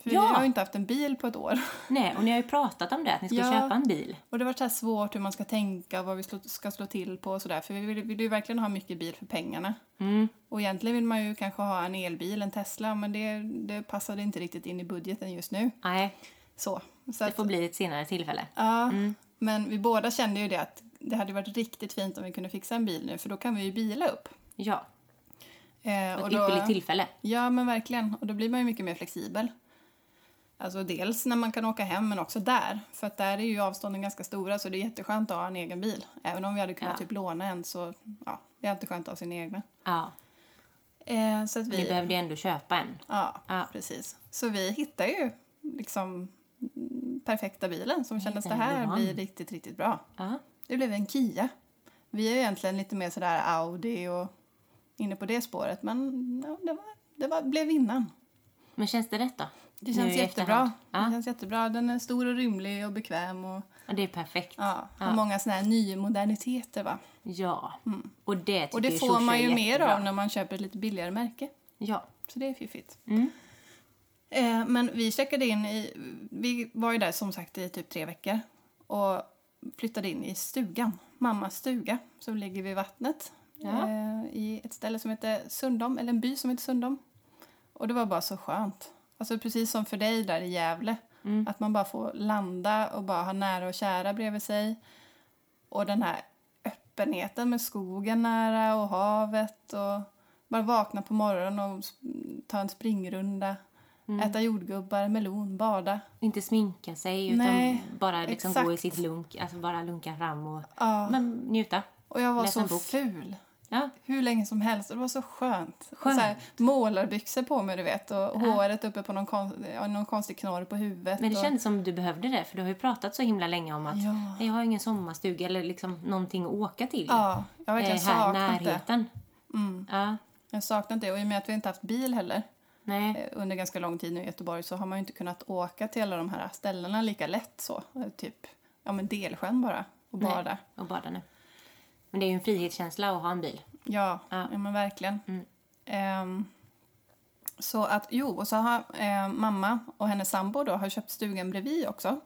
S2: För
S1: Ja.
S2: vi har ju inte haft en bil på ett år. [laughs]
S1: Nej, och ni har ju pratat om det, att ni ska
S2: Ja.
S1: köpa en bil.
S2: Och det var så här svårt hur man ska tänka, vad vi slå, ska slå till på och sådär. För vi ville, ville ju verkligen ha mycket bil för pengarna.
S1: Mm.
S2: Och egentligen vill man ju kanske ha en elbil, en Tesla, men det, det passade inte riktigt in i budgeten just nu.
S1: Nej,
S2: Så.
S1: det
S2: så att-
S1: får Mm. bli ett senare tillfälle.
S2: Ja, men vi båda kände ju det att det hade varit riktigt fint om vi kunde fixa en bil nu för då kan vi ju bila upp.
S1: Ja,
S2: Eh,
S1: ett
S2: och
S1: ypperligt
S2: då,
S1: tillfälle.
S2: ja, men verkligen. Och då blir man ju mycket mer flexibel. Alltså dels när man kan åka hem men också där. För att där är ju avstånden ganska stora så det är jätteskönt att ha en egen bil. Även om vi hade kunnat
S1: Ja.
S2: typ låna en så ja, det är alltid skönt att ha sin egna.
S1: Ja,
S2: Eh, så att
S1: vi
S2: vi,
S1: behövde ju ändå köpa en.
S2: ja,
S1: Ja.
S2: precis. Så vi hittar ju liksom mm, perfekta bilen som kändes det
S1: hittar
S2: här
S1: ändå
S2: blir
S1: någon.
S2: riktigt, riktigt bra.
S1: Ja,
S2: Det blev en Kia. Vi är egentligen lite mer sådär Audi och inne på det spåret, men ja, det, var, det var, blev vinnaren.
S1: men känns det rätt då?
S2: Det känns
S1: Nu i
S2: jättebra.
S1: efterhand. Ja.
S2: Det känns jättebra. Den är stor och rymlig och bekväm och
S1: Ja, det är perfekt. Ja.
S2: ja, har många sådana här nya moderniteter va.
S1: Och det tycker
S2: Mm. Och det
S1: ju
S2: får
S1: Shosha
S2: man
S1: är
S2: ju mer
S1: jättebra.
S2: av när man köper ett lite billigare märke.
S1: Ja,
S2: Så det är fiffigt.
S1: Mm.
S2: Eh, men vi checkade in i, vi var ju där som sagt i typ tre veckor och flyttade in i stugan, mammas stuga som ligger vid vattnet.
S1: Ja.
S2: Eh, I ett ställe som heter Sundom, eller en by som heter Sundom. Och det var bara så skönt. Alltså precis som för dig där i Gävle.
S1: Mm.
S2: Att man bara får landa och bara ha nära och kära bredvid sig. Och den här öppenheten med skogen nära och havet och bara vakna på morgonen och s- ta en springrunda,
S1: Mm.
S2: äta jordgubbar, melon, bada.
S1: inte sminka sig utan
S2: Nej,
S1: bara liksom gå i
S2: exakt.
S1: sitt lunk, alltså bara lunka fram och
S2: Ja.
S1: men njuta.
S2: Och jag var
S1: Läsa en
S2: så
S1: bok.
S2: ful.
S1: Ja,
S2: Hur länge som helst. Och Det var så skönt. Och
S1: Skönt.
S2: Så här, målarbyxor på mig, du vet. Och håret uppe på någon, kon- ja, någon konstig knorr på huvudet.
S1: men det
S2: och...
S1: kändes som du behövde det för du har ju pratat så himla länge om att
S2: Ja.
S1: "Nej, jag har ingen sommarstuga eller liksom någonting att åka till.
S2: Ja, jag har
S1: eh,
S2: verkligen
S1: här i
S2: saknat det. Mm.
S1: närheten. Ja,
S2: Jag har saknat det. Och i och med att vi inte haft bil heller
S1: Nej.
S2: eh, under ganska lång tid nu i Göteborg så har man ju inte kunnat åka till alla de här ställena lika lätt så. Eh, Typ, ja men Delsjön bara och
S1: Nej.
S2: bada.
S1: Och bada nu. Men det är ju en frihetskänsla att ha en bil.
S2: Ja,
S1: Ja.
S2: ja. men verkligen.
S1: Mm.
S2: Ehm, så att, jo, och så har eh, mamma och hennes sambo då har köpt stugan bredvid också.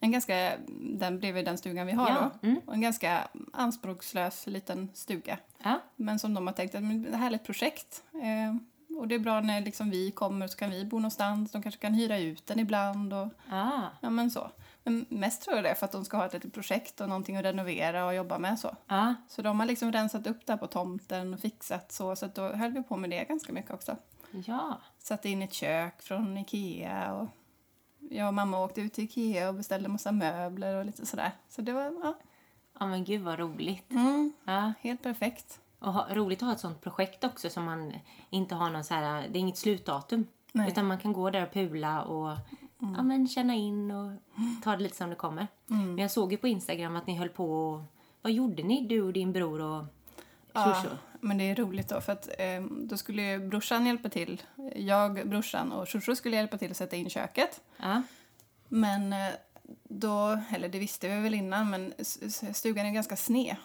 S2: En ganska, den bredvid den stugan vi har
S1: Ja, Mm.
S2: då. Och en ganska anspråkslös liten stuga.
S1: Ja.
S2: Men som de har tänkt att men det här är ett projekt. Eh, och det är bra när liksom vi kommer så kan vi bo någonstans. De kanske kan hyra ut den ibland och
S1: Ah.
S2: ja men så. Men mest tror jag det är för att de ska ha ett litet projekt och någonting att renovera och jobba med så.
S1: Ja.
S2: Så de har liksom rensat upp där på tomten och fixat så, så att då höll vi på med det ganska mycket också.
S1: Ja.
S2: Satte in ett kök från Ikea och jag och mamma åkte ut till Ikea och beställde massa möbler och lite sådär. Så det var ja,
S1: Ja men gud vad roligt.
S2: mm,
S1: Ja.
S2: helt perfekt.
S1: Och ha, roligt att ha ett sånt projekt också som man inte har någon så här, det är inget slutdatum.
S2: Nej. Mm.
S1: Utan man kan gå där och pula och ja, men känna in och ta det lite som det kommer. Men jag såg ju på Instagram att ni höll på och, vad gjorde ni du och din bror och
S2: Ja,
S1: Shushu?
S2: men det är roligt då för att eh, då skulle ju brorsan hjälpa till. Jag, brorsan och Shushu skulle hjälpa till att sätta in köket.
S1: Ja.
S2: Men eh, då, eller det visste vi väl innan, men s- s- stugan är ganska sned.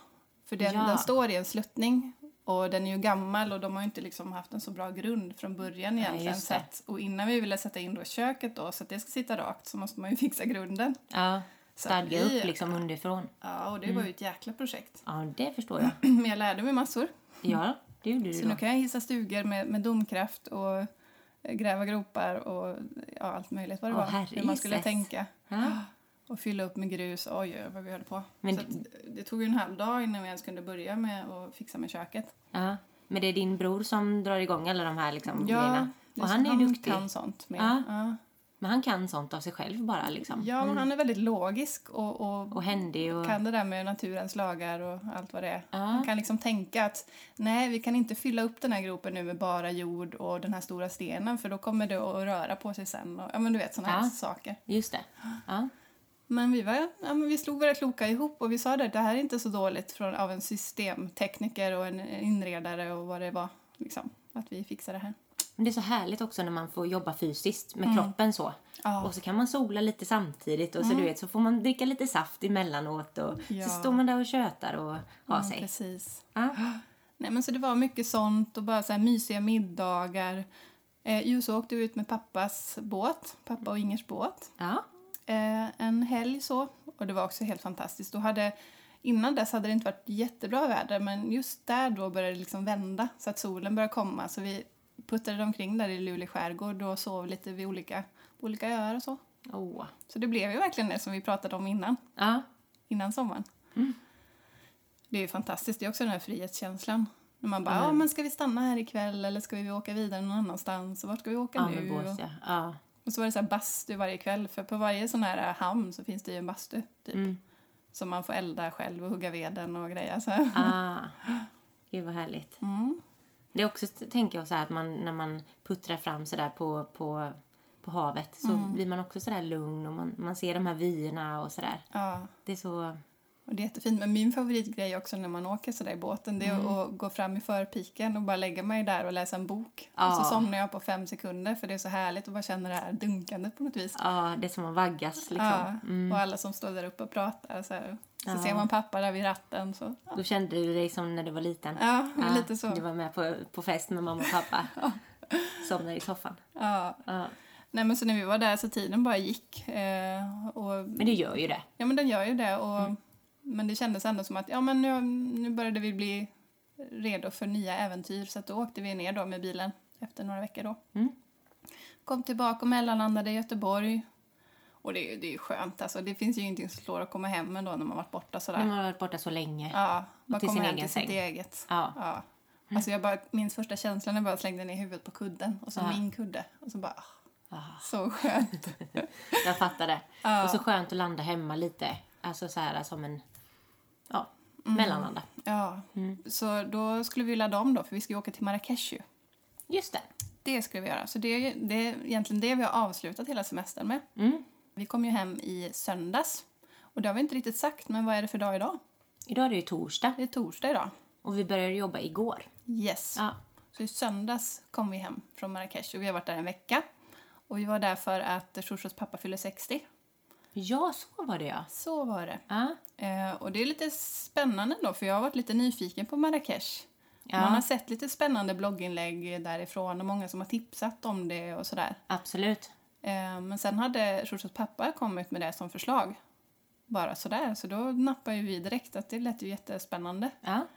S2: För den,
S1: Ja.
S2: den står i en sluttning och den är ju gammal och de har ju inte liksom haft en så bra grund från början egentligen.
S1: just det.
S2: så att, och innan vi ville sätta in då köket då, så att det ska sitta rakt, så måste man ju [laughs] fixa grunden.
S1: ja.
S2: Så att
S1: Stadga
S2: vi-
S1: upp liksom underifrån.
S2: Ja, och det var ju ett jäkla projekt.
S1: Ja, det förstår jag.
S2: Mm. [clears throat] Men jag lärde mig massor.
S1: Ja, det gjorde du
S2: Mm. Så nu
S1: då.
S2: kan jag hissa stugor med, med domkraft och eh, gräva gropar och ja, allt möjligt vad det
S1: Åh,
S2: var. Hur man skulle
S1: herregisses.
S2: tänka.
S1: Ja.
S2: Och fylla upp med grus. Oj, oj, vad vi höll på.
S1: Men
S2: så att, det tog ju en halv dag innan vi ens kunde börja med att fixa med köket.
S1: Ja. Men det är din bror som drar igång alla de här liksom, grejerna.
S2: det-
S1: Och han är ju duktig.
S2: kan sånt med.
S1: Ja.
S2: Ja,
S1: Men han kan sånt av sig själv bara liksom.
S2: ja men han är väldigt logisk och, och,
S1: Och händig och...
S2: kan det där med naturens lagar och allt vad det är.
S1: Ja.
S2: Han kan liksom tänka att nej, vi kan inte fylla upp den här gropen nu med bara jord och den här stora stenen för då kommer det att röra på sig sen. Och, ja, men du vet sådana
S1: Ja.
S2: här saker.
S1: Just det. Ja.
S2: Men vi, var, ja, men vi slog våra kloka ihop och vi sa det, det här är inte så dåligt från, av en systemtekniker och en inredare och vad det var. Liksom, att vi fixar det här.
S1: Men det är så härligt också när man får jobba fysiskt med kroppen så.
S2: Mm. Ja. Mm.
S1: Och så kan man sola lite samtidigt och så du vet så får man dricka lite saft emellanåt och
S2: Ja.
S1: så står man där och tjötar och har
S2: Mm,
S1: sig.
S2: Precis.
S1: Ja.
S2: Nej, men så det var mycket sånt och bara så här mysiga middagar. Eh, jo, så åkte vi ut med pappas båt, pappa och Ingers båt,
S1: ja.
S2: eh, en helg så. Och det var också helt fantastiskt. Då hade, innan dess hade det inte varit jättebra väder men just där då började det liksom vända så att solen började komma. Så vi puttade omkring där i Luleå skärgård och sov lite vid olika, olika öar och så.
S1: Åh.
S2: Så det blev ju verkligen det som vi pratade om innan
S1: Ja.
S2: innan sommaren. Det är ju fantastiskt. Det är också den här frihetskänslan. När man bara, ja men ska vi stanna här ikväll eller ska vi åka vidare någon annanstans? Och vart ska vi åka
S1: Ja,
S2: nu?
S1: men bås,
S2: Och-
S1: ja. ja.
S2: Och så var det så här bastu varje kväll. För på varje sån här eh, hamn så finns det ju en bastu. Typ.
S1: Mm.
S2: Som man får elda själv och hugga veden och grejer. Så. här.
S1: Ah. Gud vad härligt.
S2: Mm.
S1: Det är också, tänker jag, så här att man, när man puttrar fram sådär på, på, på havet så
S2: Mm.
S1: blir man också sådär lugn och man, man ser de här vyerna och sådär.
S2: Ja.
S1: Det är så...
S2: Och det är jättefint. Men min favoritgrej också när man åker sådär i båten det är
S1: Mm.
S2: att gå fram i förpiken och bara lägga mig där och läsa en bok.
S1: Ja.
S2: Och så somnar jag på fem sekunder för det är så härligt att bara känna det här dunkandet på något vis.
S1: Ja, det är som att vaggas liksom.
S2: Ja, och alla som står där uppe och pratar. Så, här. så
S1: Ja.
S2: ser man pappa där vid ratten. Så.
S1: Då kände du dig som när du var liten.
S2: Ja, [laughs] men lite
S1: Du
S2: så.
S1: var med på, på fest med mamma och
S2: [laughs]
S1: pappa. Somnade i soffan.
S2: Ja.
S1: Ja.
S2: Nej, men så när vi var där så tiden bara gick. Eh, och,
S1: Men det gör ju det.
S2: ja, men den gör ju det. Och,
S1: Mm.
S2: Men det kändes ändå som att ja, men nu, nu började vi bli redo för nya äventyr. Så att då åkte vi ner då med bilen efter några veckor. Då.
S1: Mm.
S2: Kom tillbaka och mellanlandade i Göteborg. Och det, är ju- det är ju skönt. Alltså, det finns ju ingenting som slår att komma hem ändå när man varit borta sådär.
S1: När man har varit borta så länge. Ja.
S2: Ja, bara
S1: Mm. till
S2: komma
S1: sin
S2: hem
S1: egen
S2: till sitt
S1: säng. Mm.
S2: eget. Ja. Alltså jag bara, min första känsla när jag bara slängde ner huvudet på kudden och så
S1: Ja.
S2: min kudde. Och så bara, ah,
S1: Ah,
S2: så skönt.
S1: jag fattar det.
S2: Ja.
S1: Och så skönt att landa hemma lite. Alltså så här som en... Ja,
S2: Mm.
S1: mellanlanda.
S2: Ja.
S1: Mm.
S2: Så då skulle vi ladda om då, för vi ska ju åka till Marrakesh ju.
S1: Just det.
S2: Det skulle vi göra. Så det är, ju- det är egentligen det vi har avslutat hela semestern med.
S1: Mm.
S2: Vi kom ju hem i söndags. Och det har vi inte riktigt sagt, men vad är det för dag idag?
S1: Idag är det ju torsdag
S2: Det är torsdag idag.
S1: och vi började jobba igår.
S2: Yes.
S1: Ja.
S2: Så i söndags kom vi hem från Marrakesh och vi har varit där en vecka. Och vi var där för att Shoshos pappa fyller 60.
S1: Ja, så var det ja.
S2: Så var det.
S1: Ja,
S2: Eh, och det är lite spännande då, för jag har varit lite nyfiken på Marrakesh.
S1: Ja.
S2: Man har sett lite spännande blogginlägg därifrån och många som har tipsat om det och sådär.
S1: absolut.
S2: Eh, men sen hade Shoshos pappa kommit med det som förslag. Bara sådär, så då nappade ju vi direkt att det lät ju jättespännande.
S1: Ja,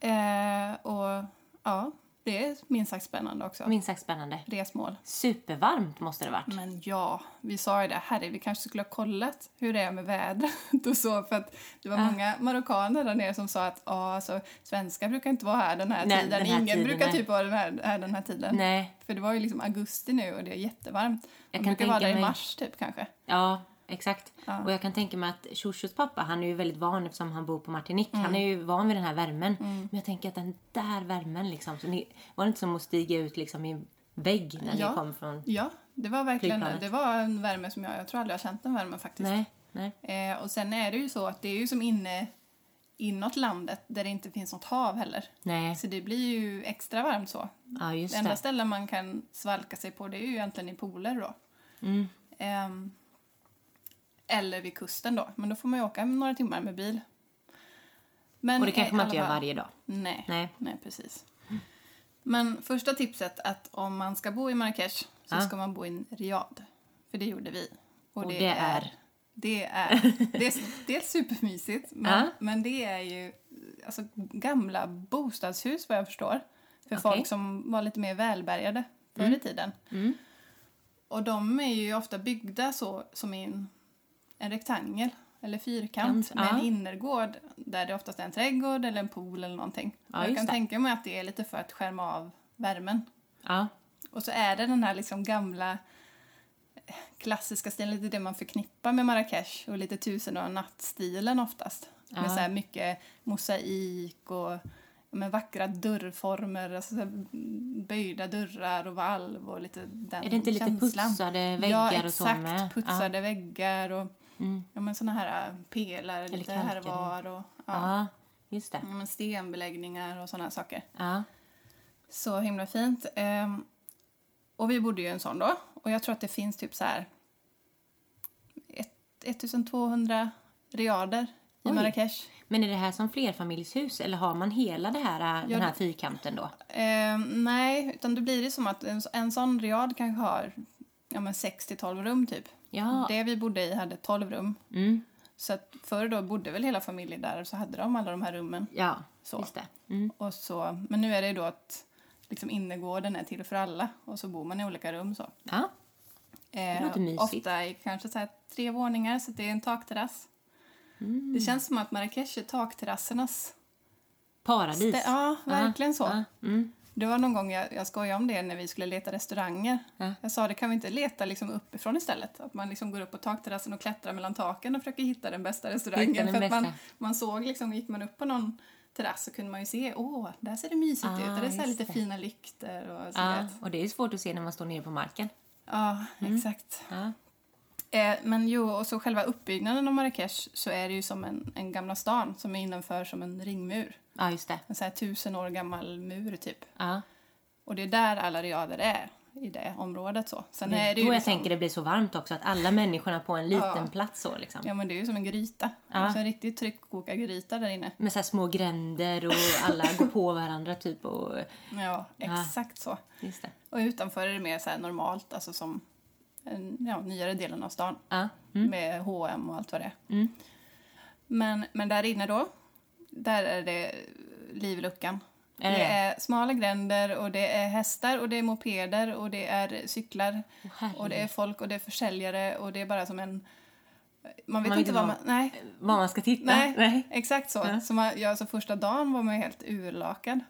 S2: Eh, och ja, det är minst sagt spännande också.
S1: minst sagt spännande.
S2: Resmål.
S1: Supervarmt måste det varit.
S2: Men ja, vi sa ju det, herre, vi kanske skulle ha kollat hur det är med vädret [laughs] och så, för att det var många marockaner där nere som sa att ja, alltså, svenskar brukar inte vara här den här
S1: Nej,
S2: tiden,
S1: den här
S2: ingen
S1: tiden,
S2: brukar
S1: nej.
S2: typ vara den här, här den här tiden.
S1: Nej,
S2: För det var ju liksom augusti nu och det är jättevarmt.
S1: Jag
S2: Man
S1: kan
S2: brukar vara
S1: tänka
S2: där i
S1: mig-
S2: mars typ kanske.
S1: ja, exakt.
S2: Ja.
S1: Och jag kan tänka mig att Shoshos pappa, han är ju väldigt van eftersom han bor på Martinique.
S2: Mm.
S1: Han är ju van vid den här värmen. Men jag tänker att den där värmen liksom, så ni, var det inte som att stiga ut liksom i en vägg när
S2: Ja.
S1: ni kom från...
S2: Ja, det var verkligen
S1: Flygplanet.
S2: det var en värme som jag, jag tror aldrig jag har känt den värmen faktiskt.
S1: Nej, nej.
S2: Eh, och sen är det ju så att det är ju som inne inåt landet där det inte finns något hav heller.
S1: Nej,
S2: Så det blir ju extra varmt så.
S1: ja just
S2: Det enda
S1: det.
S2: ställen man kan svalka sig på det är ju egentligen i pooler då.
S1: Mm.
S2: Ehm, eller vid kusten då. Men då får man ju åka några timmar med bil. Men
S1: Och det
S2: i
S1: kanske man
S2: alla
S1: inte gör
S2: fall-
S1: varje dag.
S2: Nej. Nej.
S1: Nej.
S2: precis. Men första tipset att om man ska bo i Marrakesh så
S1: Ja.
S2: ska man bo i en riad. För det gjorde vi.
S1: Och det är?
S2: Det är,
S1: [laughs]
S2: det är, det är supermysigt, men,
S1: Ja.
S2: men det är ju alltså, gamla bostadshus vad jag förstår. För
S1: Okej.
S2: folk som var lite mer välbärgade förr i tiden.
S1: Mm.
S2: Och de är ju ofta byggda så som i en, en rektangel eller fyrkant
S1: Kant,
S2: med en
S1: ja.
S2: innergård där det oftast är en trädgård eller en pool eller någonting.
S1: Ja,
S2: jag
S1: just
S2: kan
S1: det.
S2: tänka mig att det är lite för att skärma av värmen.
S1: Ja,
S2: Och så är det den här liksom gamla eh, klassiska stilen, lite det man förknippar med Marrakesh och lite tusen och en natt-stilen oftast. Med
S1: Ja.
S2: så här mycket mosaik och med vackra dörrformer, alltså så här böjda dörrar och valv och lite den
S1: Är det inte lite
S2: känslan.
S1: putsade
S2: ja,
S1: väggar och så
S2: exakt,
S1: med? Ja.
S2: putsade väggar och
S1: Mm.
S2: ja, men såna här äh, pelare lite
S1: kalkade.
S2: här och var och ja. Mm.
S1: ja just det.
S2: Ja, men stenbeläggningar och såna här saker.
S1: Ja.
S2: Så himla fint. Ehm, och vi bodde ju i en sån då. Och jag tror att det finns typ så här ett- 1200 riader i
S1: Oj.
S2: Marrakesh.
S1: Men är det här som flerfamiljshus eller har man hela det här, äh,
S2: Ja,
S1: den här fyrkanten då?
S2: Ehm, nej, utan då blir det som att en, en sån riad kanske har ja, men 6-12 rum typ.
S1: Ja,
S2: Det vi bodde i hade 12 rum.
S1: mm,
S2: Så att förr då bodde väl hela familjen där och så hade de alla de här rummen.
S1: ja
S2: Så.
S1: just det. Mm.
S2: Och så, men nu är det ju då att liksom innergården är till för alla och så bor man i olika rum. så.
S1: Ja,
S2: Eh,
S1: låter mysigt.
S2: Ofta i kanske så här tre våningar, så att det är en takterrass.
S1: Mm.
S2: Det känns som att Marrakesh är takterrassernas...
S1: paradis.
S2: stä- ja, verkligen så.
S1: Ja, mm.
S2: Det var någon gång jag, jag skojade om det när vi skulle leta restauranger.
S1: Ja.
S2: Jag sa det kan vi inte leta liksom uppifrån istället? Att man liksom går upp på takterrassen och klättrar mellan taken och försöker hitta den bästa restaurangen.
S1: Hitta den
S2: För att man,
S1: bästa.
S2: man såg liksom, gick man upp på någon terrass så kunde man ju se, åh, där ser det mysigt
S1: Ah,
S2: ut. Och det är så här
S1: just
S2: lite
S1: det. Ah.
S2: fina lykter och så
S1: ja,
S2: vet.
S1: och det är svårt att se när man står nere på marken.
S2: Ja,
S1: Mm.
S2: exakt.
S1: Ja,
S2: Eh, men jo, och så själva uppbyggnaden av Marrakesh så är det ju som en, en gamla stan som är innanför som en ringmur.
S1: ja just det.
S2: En så här tusen år gammal mur typ.
S1: Ja.
S2: Och det är där alla riader är, i det området så. Sen
S1: Det
S2: är
S1: är
S2: det
S1: Mm, då
S2: ju
S1: jag
S2: liksom,
S1: tänker det blir så varmt också, att alla människorna på en liten plats så liksom.
S2: Ja men det är ju som en gryta.
S1: Ja.
S2: Alltså en riktig tryckkokargryta där inne.
S1: Med så här små gränder och alla går på varandra typ och...
S2: Ja, exakt så.
S1: Just det.
S2: Och utanför är det mer så här normalt, alltså som en, ja, nyare delen av stan.
S1: Ja,
S2: med H&M och allt vad det är.
S1: Mm.
S2: Men, men där inne då, där är det liv i luckan.
S1: Är
S2: det
S1: det?
S2: är smala gränder och det är hästar och det är mopeder och det är cyklar
S1: Åh, herregud.
S2: och det är folk och det är försäljare och det är bara som en... Man vet
S1: vet
S2: inte
S1: inte
S2: vad man...
S1: vad-
S2: Nej,
S1: Var man ska titta?
S2: nej,
S1: Nej.
S2: exakt så. så man, ja, så första dagen var man ju helt urlakad.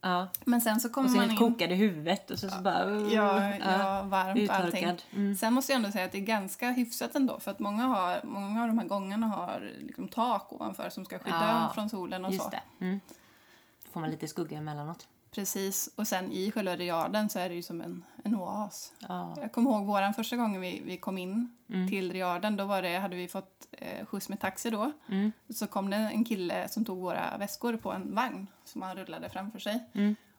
S1: Ja.
S2: Men sen så kommer
S1: Och så
S2: man
S1: helt
S2: in...
S1: kokade huvudet och så, så bara...
S2: Ja, ja, varmt och
S1: Mm. Uttorkad. Mm.
S2: allting. Sen måste jag ändå säga att det är ganska hyfsat ändå för att många, har, många av de här gångarna har liksom tak ovanför som ska skydda
S1: Ja,
S2: dem från solen och så.
S1: Just det. Mm. Får man lite skugga emellanåt.
S2: Precis, och sen i själva riaden så är det ju som en, en oas.
S1: Ja. Mm.
S2: Jag kommer ihåg våran första gången vi, vi kom in till riaden, då var det, hade vi fått eh, skjuts med taxi då.
S1: Mm. Mm.
S2: Så kom det en kille som tog våra väskor på en vagn som han rullade framför sig.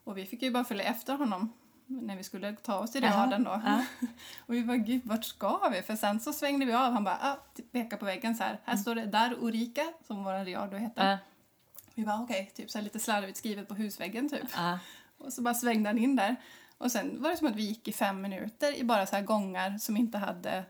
S2: Och vi fick ju bara följa efter honom när vi skulle ta oss till
S1: Jaha.
S2: raden då.
S1: Ja.
S2: [laughs] Och vi bara, gud vart ska vi? För sen så svängde vi av, han bara, ah, t- pekade på väggen så här. Här står det Dar Ulrika, som vår riad då hette.
S1: Mm. Ja.
S2: Vi bara okej, typ så här lite slarvigt skrivet på husväggen typ.
S1: Ja.
S2: Och så bara svängde han in där. Och sen var det som att vi gick i fem minuter i bara så här gångar som inte hade,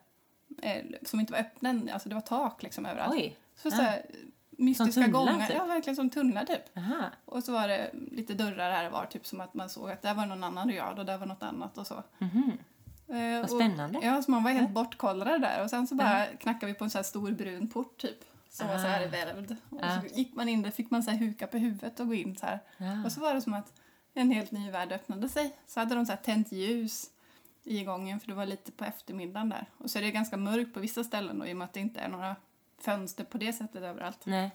S2: eh, som inte var öppna än. Alltså det var tak liksom överallt.
S1: Oj.
S2: Så, så här, mystiska
S1: Som tunnlar,
S2: gångar.
S1: typ.
S2: Ja, verkligen som tunnlar typ.
S1: Aha.
S2: Och så var det lite dörrar här och var, typ som att man såg att där var någon annan röd och där var något annat och så. Eh,
S1: Mhm. Vad spännande.
S2: Och, ja, så man var helt bortkollrad där och sen så bara knackade vi på en så här stor brun port typ. Som var så här
S1: Ah.
S2: välvd. Och
S1: Ah.
S2: så gick man in där fick man så här huka på huvudet och gå in så här.
S1: Ja.
S2: Och så var det som att en helt ny värld öppnade sig. Så hade de så här tänt ljus i gången för det var lite på eftermiddagen där. Och så är det ganska mörkt på vissa ställen då, i och med att det inte är några fönster på det sättet överallt.
S1: Nej.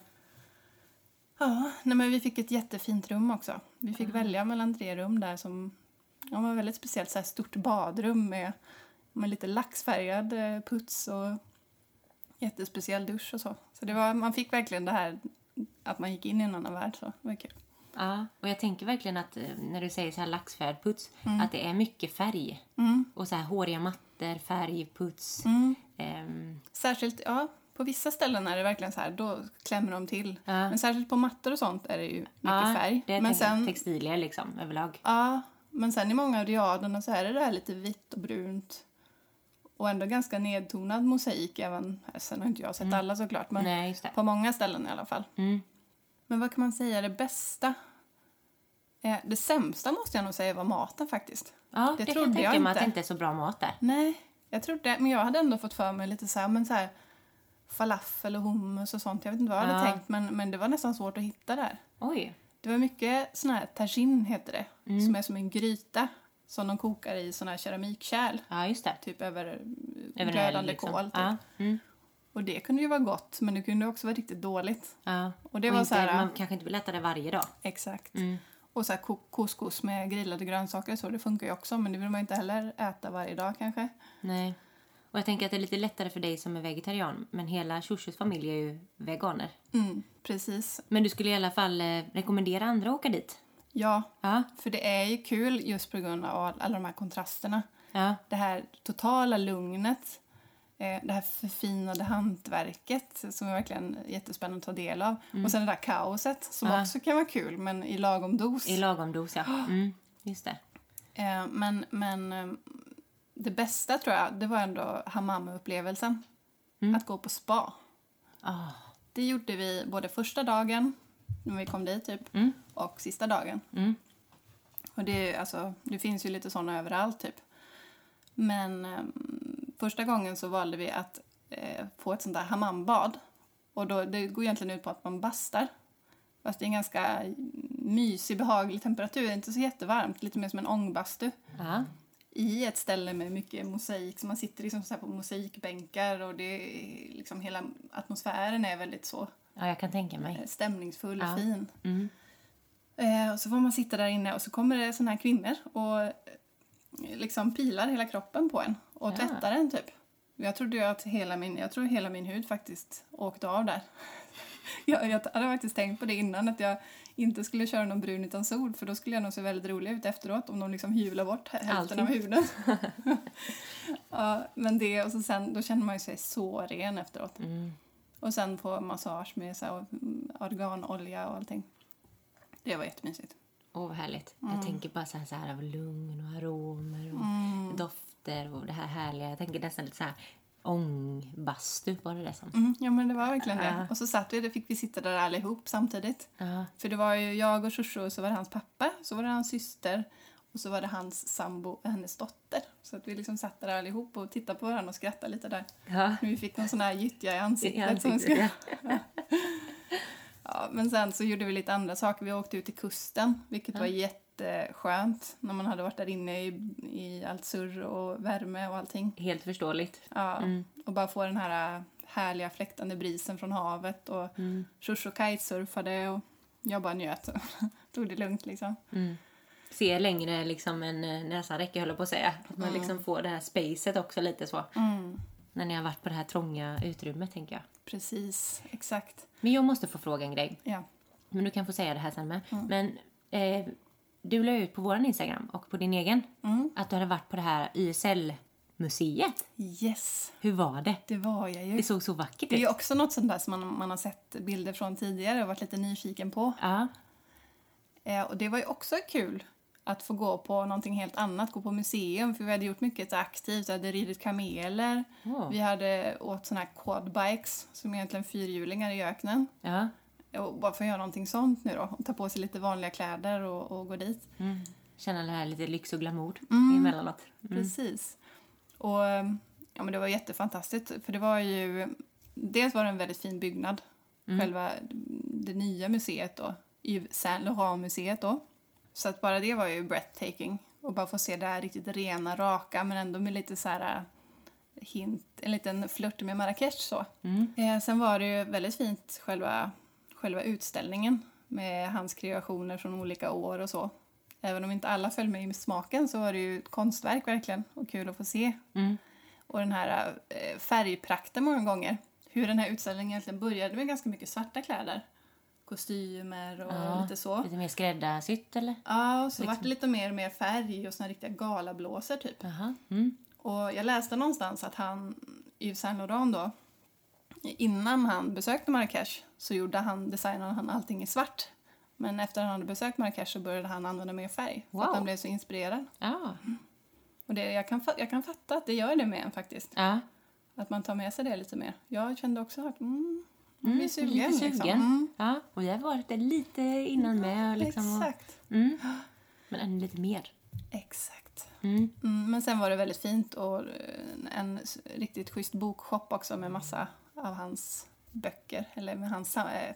S2: Ja, nej men vi fick ett jättefint rum också. Vi fick välja mellan tre rum där som ja, var väldigt speciellt. Så här stort badrum med, med lite laxfärgad eh, puts och jättespeciell dusch och så. Så det var, man fick verkligen det här att man gick in i en annan värld. Så det var kul.
S1: Ja, och jag tänker verkligen att eh, när du säger så här laxfärgad puts,
S2: Mm.
S1: att det är mycket färg. Och så här håriga mattor, färg, puts.
S2: Mm.
S1: Ehm,
S2: Särskilt, ja, på vissa ställen är det verkligen så här, då klämmer de till.
S1: Ja.
S2: Men särskilt på mattor och sånt är det ju mycket
S1: ja,
S2: färg.
S1: Det
S2: men
S1: men textilier liksom överlag.
S2: Ja, men sen i många av diaderna så är det där lite vitt och brunt och ändå ganska nedtonad mosaik. Även, sen har inte jag sett alla såklart, men
S1: Mm. Nej, just det.
S2: på många ställen i alla fall.
S1: Mm.
S2: Men vad kan man säga är det bästa? Eh, Det sämsta måste jag nog säga var maten faktiskt.
S1: Ja, det,
S2: Det
S1: kan
S2: trodde
S1: jag tänka
S2: jag
S1: mig att
S2: inte.
S1: det inte är så bra mat där.
S2: Nej, jag trodde, men jag hade ändå fått för mig lite så här, men så här falafel och hummus och sånt. Jag vet inte vad jag hade
S1: Ja.
S2: tänkt, men, men det var nästan svårt att hitta där.
S1: Oj.
S2: Det var mycket sån här tagine heter det,
S1: Mm.
S2: som är som en gryta som de kokar i sån här keramikkärl,
S1: Ja, just det.
S2: typ över,
S1: Över
S2: över
S1: en eld,
S2: glödande
S1: liksom.
S2: kol. Typ.
S1: Ja, mm.
S2: Och det kunde ju vara gott, men det kunde också vara riktigt dåligt.
S1: ja.
S2: Och det var
S1: inte,
S2: så här-
S1: Man Mm. kanske inte vill äta det varje dag.
S2: Exakt. Och så här ko- couscous med grillade grönsaker och så, det funkar ju också, men det vill man ju inte heller äta varje dag kanske.
S1: Nej. Och jag tänker att det är lite lättare för dig som är vegetarian, men hela Shoshos familj är ju veganer.
S2: Mm, precis.
S1: Men du skulle i alla fall eh, rekommendera andra att åka dit?
S2: Ja,
S1: Ja.
S2: för det är ju kul just på grund av all- alla de här kontrasterna.
S1: Ja.
S2: det här totala lugnet, eh, det här förfinade hantverket som är verkligen jättespännande att ta del av. Och sen det där kaoset som
S1: Mm. Ja.
S2: också kan vara kul, men i lagom dos.
S1: I lagom dos, ja. [gasps] Mm, just det.
S2: Eh, men men eh, det bästa tror jag, det var ändå hammam-upplevelsen.
S1: Mm.
S2: Att gå på spa.
S1: Ah,
S2: Det gjorde vi både första dagen, när vi kom dit, typ, och sista dagen.
S1: Mm.
S2: Och det, är ju, alltså, det finns ju lite såna överallt, typ. Men eh, första gången så valde vi att eh, få ett sånt där hammambad. Och då, det går egentligen ut på att man bastar. Fast det är en ganska mysig, behaglig temperatur. Inte så jättevarmt, lite mer som en ångbastu.
S1: ja.
S2: I ett ställe med mycket mosaik, så man sitter liksom så här på mosaikbänkar och det är liksom hela atmosfären är väldigt så
S1: ja, jag kan tänka mig.
S2: eh, stämningsfull och
S1: Ja.
S2: fin.
S1: Mm.
S2: Eh, och så får man sitta där inne och så kommer det såna här kvinnor och eh, liksom pilar hela kroppen på en och
S1: Ja.
S2: tvättar en typ. Jag trodde ju att hela min, jag tror hela min hud faktiskt åkte av där. [laughs] jag, jag hade faktiskt tänkt på det innan att jag inte skulle köra någon brun utan sol för då skulle jag nog se väldigt rolig ut efteråt om de liksom hyvlar bort hälften
S1: Allting.
S2: av
S1: [laughs]
S2: huden. [laughs] ja, men det och så sen, då känner man ju sig så ren efteråt.
S1: Mm.
S2: Och sen på massage med så här, mm, organolja och allting. Det var jättemysigt.
S1: Åh, vad härligt. Jag tänker bara så här, så här av lugn och aromer och dofter och det här härliga. Jag tänker nästan lite så här ångbastu, var det det som?
S2: Mm, ja men det var verkligen det.
S1: Ja.
S2: Och så satt vi, det fick vi sitta där allihop samtidigt.
S1: Ja.
S2: För det var ju jag och Shoshu och så var det hans pappa, så var det hans syster och så var det hans sambo och hennes dotter. Så att vi liksom satt där allihop och tittade på varandra och skrattade lite där.
S1: Ja.
S2: Vi fick någon sån här gyttja i ansiktet.
S1: I
S2: som
S1: ansiktet,
S2: skulle...
S1: ja.
S2: ja, men sen så gjorde vi lite andra saker. Vi åkte ut till kusten, vilket var jätteskönt när man hade varit där inne i, i allt surr och värme och allting.
S1: Helt förståeligt.
S2: Ja, och bara få den här äh, härliga fläktande brisen från havet och mm. Shoshu kitesurfade och jag bara njöt [laughs] och tog det lugnt liksom.
S1: Se längre liksom än eh, näsan räcker, höll jag på att säga. Att man liksom får det här spacet också lite så. När ni har varit på det här trånga utrymmet, tänker jag.
S2: Precis, exakt.
S1: Men jag måste få fråga en grej.
S2: Ja.
S1: Men du kan få säga det här sen med. Men eh, du la ut på våran Instagram och på din egen att du hade varit på det här YSL-museet.
S2: Yes,
S1: Hur var det?
S2: det var jag ju.
S1: Det såg så vackert
S2: Det är ju
S1: ut.
S2: också något sånt där som man, man har sett bilder från tidigare och varit lite nyfiken på.
S1: Ja,
S2: Eh, och det var ju också kul att få gå på någonting helt annat, gå på museum, för vi hade gjort mycket så aktivt. Vi hade ridit kameler,
S1: Åh.
S2: vi hade åkt såna här quadbikes, som egentligen fyrhjulingar i öknen.
S1: ja.
S2: Och bara få göra någonting sånt nu då, ta på sig lite vanliga kläder och, och gå dit.
S1: Mm. Känna det här lite lyx och glamour emellanåt.
S2: Precis. Och eh, ja, men det var jättefantastiskt, för det var ju... Dels var det en väldigt fin byggnad, själva det nya museet då, Yves Saint Laurent-museet då. Så att bara det var ju breathtaking. Och bara få se det här riktigt rena, raka, men ändå med lite så här eh, hint, en liten flört med Marrakesh så.
S1: Mm.
S2: Eh, sen var det ju väldigt fint själva, själva utställningen med hans kreationer från olika år och så. Även om inte alla föll med i smaken så var det ju ett konstverk verkligen och kul att få se.
S1: Mm.
S2: Och den här eh, färgprakten många gånger. Hur den här utställningen egentligen började med ganska mycket svarta kläder. Kostymer och
S1: Ja,
S2: lite så.
S1: Lite liksom- mer skräddarsytt eller?
S2: Ja, och så vart det lite mer och mer färg och såna här riktiga galablåsor typ.
S1: Jaha. Mm.
S2: Och jag läste någonstans att han, Yves Saint Laurent då, innan han besökte Marrakesh så gjorde han, designade han allting i svart. Men efter han hade besökt Marrakesh så började han använda mer färg. För
S1: Wow.
S2: att han blev så inspirerad.
S1: Ja.
S2: Och det, jag, kan, fa- jag kan fatta att det gör det med en faktiskt.
S1: ja.
S2: Att man tar med sig det lite mer. Jag kände också att mm, man
S1: Mm,
S2: blir sugen.
S1: lite sugen.
S2: Liksom. Mm,
S1: Ja, och jag har varit där lite innan med. och Liksom, och,
S2: Exakt.
S1: mm. Men ännu lite mer.
S2: Exakt.
S1: Mm.
S2: Mm, men sen var det väldigt fint och eh, en s- riktigt schysst bokshop också med massa av hans böcker, eller med hans sam- eh,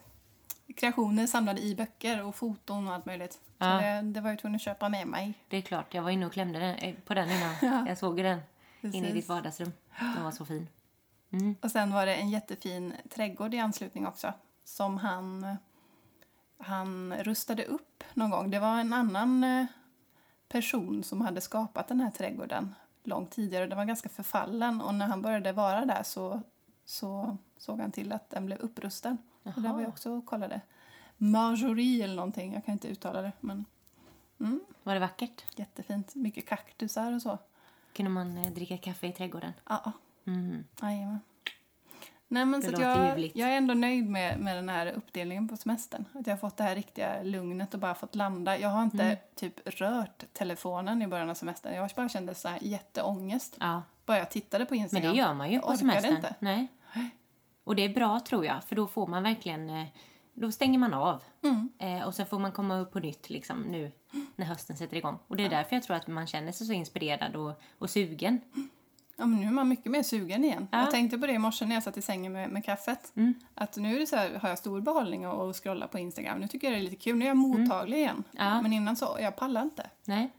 S2: kreationer samlade i böcker och foton och allt möjligt. Så
S1: Ja.
S2: det, det var jag tvungen att köpa med mig.
S1: Det är klart, jag var inne och klämde den, eh, på den innan. Jag såg ju den inne i
S2: Precis.
S1: ditt vardagsrum. Den var så fin.
S2: Och sen var det en jättefin trädgård i anslutning också som han, han rustade upp någon gång. Det var en annan eh, person som hade skapat den här trädgården långt tidigare. Den var ganska förfallen och när han började vara där så, så såg han till att den blev upprustad. Och där var jag också och kollade. Marjorie eller någonting, jag kan inte uttala det. Men
S1: Var det vackert?
S2: jättefint. Mycket kaktusar och så.
S1: Kunde man eh, dricka kaffe i trädgården?
S2: Ja, ja.
S1: Mm.
S2: Jajamän. Nej, men
S1: Det
S2: så att
S1: låter
S2: jag,
S1: ljuvligt.
S2: jag är ändå nöjd med, med den här uppdelningen på semestern. Att jag har fått det här riktiga lugnet och bara fått landa. Jag har inte
S1: Mm.
S2: typ rört telefonen i början av semestern. Jag bara kände så här jätteångest.
S1: Ja,
S2: Bara jag tittade på
S1: men
S2: Instagram.
S1: det gör man ju
S2: Jag
S1: på
S2: orkade
S1: semestern.
S2: inte.
S1: Nej. Och det är bra tror jag, för då får man verkligen... eh, Då stänger man av.
S2: Mm.
S1: Eh, och sen får man komma upp på nytt liksom, nu när hösten sätter igång. Och det är därför jag tror att man känner sig så inspirerad och, och sugen.
S2: Ja, men nu är man mycket mer sugen igen.
S1: Ja. Mm.
S2: Jag tänkte på det i morse när jag satt i sängen med, med kaffet. Att nu är det så här, har jag stor behållning att att scrolla på Instagram. Nu tycker jag det är lite kul. Nu är jag mottaglig igen.
S1: Mm. Ja.
S2: Men innan så, jag pallar inte.
S1: Nej.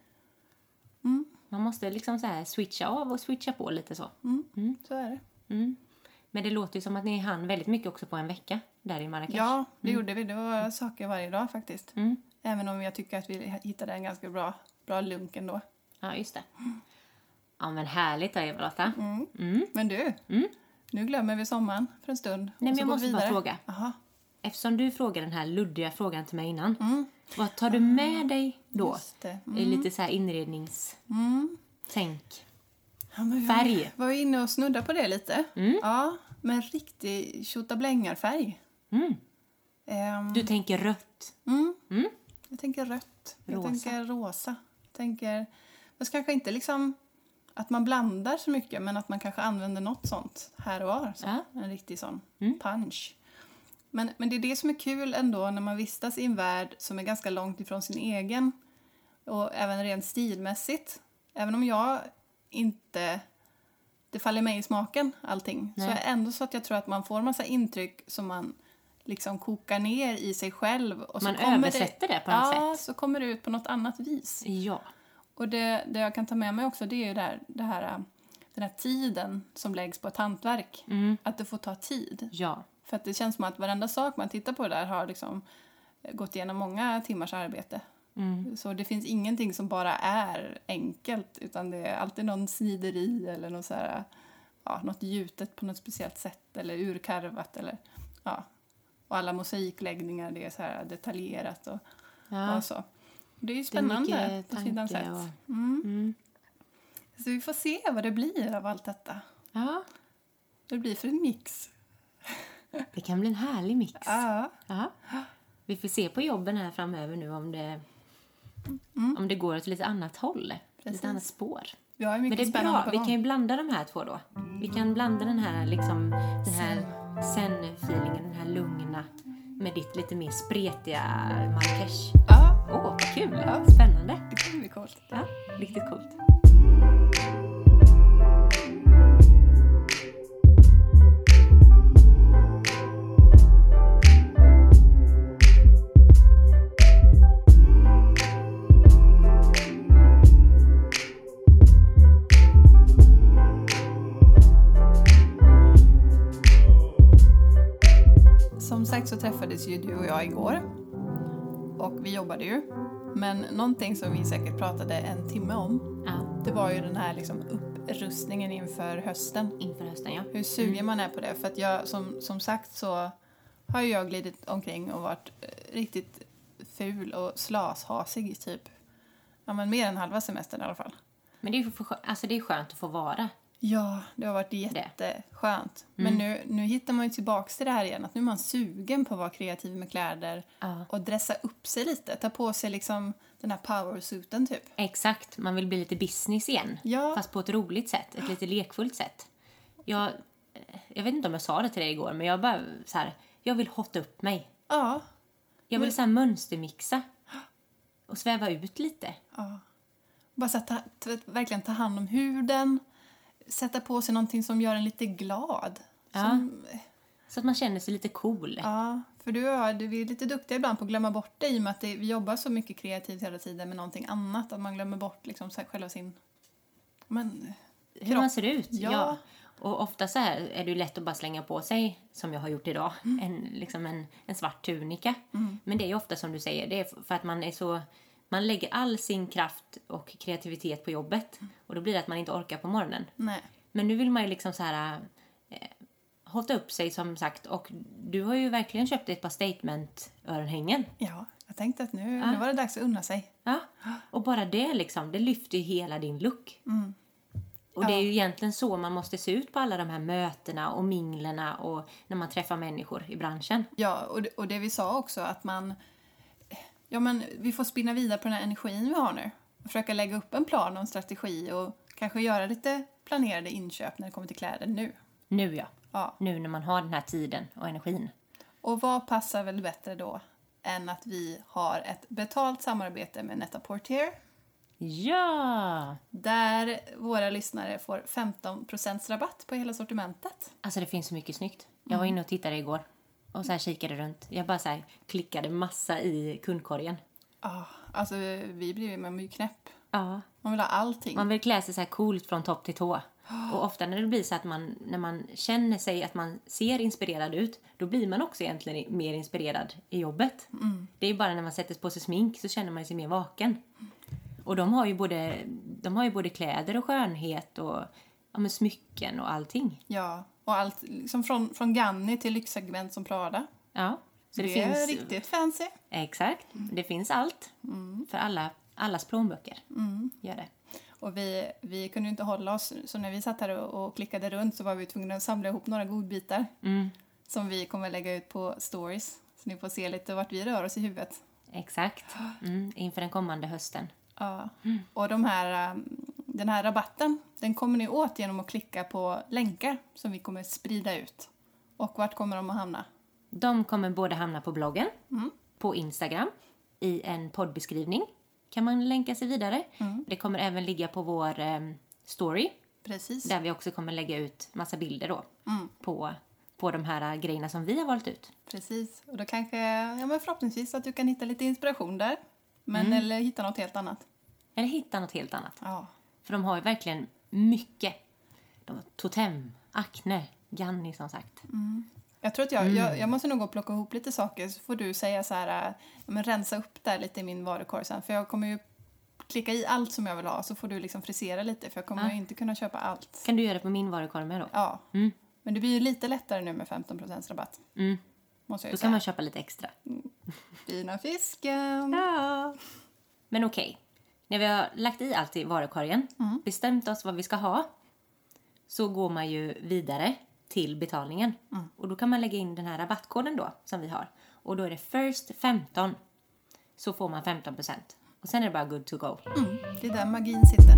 S2: Mm.
S1: Man måste liksom så här switcha av och switcha på lite så.
S2: Mm. Så är det.
S1: Mm. Men det låter ju som att ni hann väldigt mycket också på en vecka där i Marrakesh.
S2: Ja, det gjorde vi. Det var saker varje dag faktiskt.
S1: Mm.
S2: Även om jag tycker att vi hittade en ganska bra, bra lunk ändå.
S1: Ja, just det. Ja, men härligt då, Eva-Lotta. Mm.
S2: Men du,
S1: Mm.
S2: nu glömmer vi sommaren för en stund. och
S1: men
S2: så
S1: jag
S2: går
S1: måste
S2: vi
S1: bara
S2: vidare.
S1: fråga.
S2: Jaha.
S1: Eftersom du frågade den här luddiga frågan till mig innan. Vad tar du med dig då?
S2: Mm. Just det.
S1: Det är lite så här inredningstänk.
S2: Mm. Ja, men vi
S1: Färg.
S2: var ju inne och snuddade på det lite. Ja, men riktig tjottablängarfärg.
S1: Mm.
S2: Ehm,
S1: Du tänker rött.
S2: mm.
S1: Mm.
S2: Jag tänker rött. Jag
S1: Rosa.
S2: tänker rosa. Jag tänker, fast kanske inte liksom att man blandar så mycket men att man kanske använder något sånt här och var. Så.
S1: Ja.
S2: En riktig sån
S1: Mm.
S2: punch. Men, men det är det som är kul ändå när man vistas i en värld som är ganska långt ifrån sin egen. Och även rent stilmässigt. Även om jag inte... Det faller mig i smaken allting. Så
S1: Nej.
S2: är ändå så att jag tror att man får massa intryck som man liksom kokar ner i sig själv. Och så
S1: Man
S2: kommer
S1: översätter det på något
S2: Ja,
S1: sätt.
S2: så kommer det ut på något annat vis.
S1: Ja.
S2: Och det, det jag kan ta med mig också det är ju det här, det här, äh, den här tiden som läggs på ett hantverk.
S1: Mm.
S2: Att det får ta tid.
S1: Ja.
S2: För att det känns som att varenda sak man tittar på där har liksom eh, gått igenom många timmars arbete.
S1: Mm.
S2: Så det finns ingenting som bara är enkelt utan det är alltid någon snideri eller något, så här, ja, något gjutet på något speciellt sätt eller urkarvat eller ja. Och alla mosaikläggningar det är så här detaljerat och,
S1: ja.
S2: och så. Det är ju
S1: Det är mycket
S2: spännande på sidan
S1: tanke
S2: sätt.
S1: och-
S2: Mm.
S1: Mm.
S2: Så vi får se vad det blir av allt detta.
S1: Ja,
S2: Det blir för en mix.
S1: det kan bli en härlig mix.
S2: Ja.
S1: Ja. Vi får se på jobben här framöver nu om det, om det går åt lite annat håll.
S2: Mm. Precis.
S1: Lite annat spår.
S2: Vi har ju
S1: Men
S2: mycket
S1: det är
S2: spännande
S1: bra,
S2: på
S1: vi
S2: gång.
S1: kan ju blanda de här två då. Vi kan blanda den här liksom, den här zen-feelingen, den här lugna med ditt lite mer spretiga Marrakesh.
S2: Ja,
S1: Åh, vad kul!
S2: Ja.
S1: Spännande!
S2: det kommer bli coolt.
S1: Ja, riktigt coolt.
S2: Som sagt så träffades ju du och jag igår. Och vi jobbade ju. Men någonting som vi säkert pratade en timme om,
S1: Ja,
S2: det var ju den här liksom upprustningen inför hösten.
S1: inför hösten ja.
S2: Hur sugen man är på det. För att jag, som, som sagt så har ju jag glidit omkring och varit eh, riktigt ful och slashasig i typ, ja men mer än halva semestern i alla fall.
S1: Men det är, ju för, skö- alltså det är skönt att få vara.
S2: Ja, det har varit jätteskönt.
S1: Mm.
S2: Men nu, nu hittar man ju tillbaks till det här igen, att nu är man sugen på att vara kreativ med kläder
S1: Ja.
S2: och dressa upp sig lite, ta på sig liksom den här powersuiten typ.
S1: Exakt, man vill bli lite business igen.
S2: Ja.
S1: Fast på ett roligt sätt, ett lite lekfullt sätt. Jag, jag vet inte om jag sa det till dig igår, men jag bara så här, jag vill hotta upp mig.
S2: Ja,
S1: Jag vill så här mönstermixa. Och sväva ut lite.
S2: bara så att ta, ta, verkligen ta hand om huden, sätta på sig någonting som gör en lite glad.
S1: Ja.
S2: Som,
S1: Så att man känner sig lite cool.
S2: ja, för du, och jag, du vi är lite duktiga ibland på att glömma bort det i och med att det, vi jobbar så mycket kreativt hela tiden med någonting annat, att man glömmer bort liksom så här, själva sin... Men,
S1: Hur man ser ut.
S2: Ja.
S1: Och ofta så här är det ju lätt att bara slänga på sig, som jag har gjort idag,
S2: Mm.
S1: en, liksom en, en svart tunika. Men det är ju ofta som du säger, det är f- för att man är så... Man lägger all sin kraft och kreativitet på jobbet
S2: Mm.
S1: och då blir det att man inte orkar på morgonen.
S2: nej.
S1: Men nu vill man ju liksom så här eh, hotta upp sig som sagt och du har ju verkligen köpt ett par statement-örhängen.
S2: Ja, jag tänkte att nu, nu var det dags att unna sig.
S1: Ja, och bara det liksom, det lyfter ju hela din look. Och det är ju egentligen så man måste se ut på alla de här mötena och minglerna och när man träffar människor i branschen.
S2: Ja, och det, och det vi sa också att man... Ja, men vi får spinna vidare på den här energin vi har nu. Och försöka lägga upp en plan och en strategi och kanske göra lite planerade inköp när det kommer till kläder nu.
S1: Nu ja.
S2: Ja.
S1: Nu när man har den här tiden och energin.
S2: Och vad passar väl bättre då än att vi har ett betalt samarbete med Netta Portier
S1: Ja!
S2: där våra lyssnare får 15% rabatt på hela sortimentet.
S1: Alltså det finns så mycket snyggt. Jag var inne och tittade igår och så här kikade runt. Jag bara så här klickade massa i kundkorgen.
S2: Ja, alltså vi blir man blir ju knäpp.
S1: Ja.
S2: Man vill ha allting.
S1: Man vill klä sig så här coolt från topp till tå. Och ofta när det blir så att man, när man känner sig att man ser inspirerad ut, då blir man också egentligen i- mer inspirerad i jobbet.
S2: Mm.
S1: Det är ju bara när man sätter på sig smink så känner man sig mer vaken. Och de har ju både, de har ju både kläder och skönhet och ja, men smycken och allting.
S2: Ja, och allt liksom från, från Ganni till lyxsegment som Prada.
S1: Ja, så det,
S2: det är
S1: finns...
S2: riktigt Mm. fancy.
S1: Exakt, det finns allt. För alla, allas plånböcker.
S2: Mm.
S1: Gör det.
S2: Och vi, vi kunde ju inte hålla oss, så när vi satt här och, och klickade runt så var vi tvungna att samla ihop några godbitar
S1: Mm.
S2: som vi kommer lägga ut på stories. Så ni får se lite vart vi rör oss i huvudet.
S1: Exakt,
S2: [gasps]
S1: mm, inför den kommande hösten.
S2: Ja.
S1: Mm.
S2: Och de här, um, den här rabatten, den kommer ni åt genom att klicka på länkar som vi kommer sprida ut. Och vart kommer de att hamna?
S1: De kommer både hamna på bloggen, på Instagram, i en poddbeskrivning. Kan man länka sig vidare. Det kommer även ligga på vår em, story.
S2: Precis.
S1: Där vi också kommer lägga ut massa bilder då. På, på de här eh, grejerna som vi har valt ut.
S2: Precis. Och då kanske, ja men förhoppningsvis att du kan hitta lite inspiration där. Men
S1: Mm.
S2: eller hitta något helt annat.
S1: Eller hitta något helt annat.
S2: Ja.
S1: För de har ju verkligen mycket. De har Totem, Acne, Ganni som sagt.
S2: Jag tror att jag,
S1: Mm.
S2: jag, jag måste nog gå och plocka ihop lite saker så får du säga så här, äh, ja, men rensa upp där lite i min varukorg sen. För jag kommer ju klicka i allt som jag vill ha så får du liksom frisera lite för jag kommer ju inte kunna köpa allt.
S1: Kan du göra det på min varukorg med då?
S2: Ja. Men det blir ju lite lättare nu med 15% rabatt.
S1: Mm.
S2: Måste jag
S1: Då kan
S2: ju säga.
S1: man köpa lite extra.
S2: Fina fisken!
S1: Ja. Liksom. Men okej, när vi har lagt i allt i varukorgen, bestämt oss vad vi ska ha, så går man ju vidare till betalningen. Och då kan man lägga in den här rabattkoden då, som vi har. Och då är det first 15, så får man 15%. Och sen är det bara good to go.
S2: Mm, det är där magin sitter.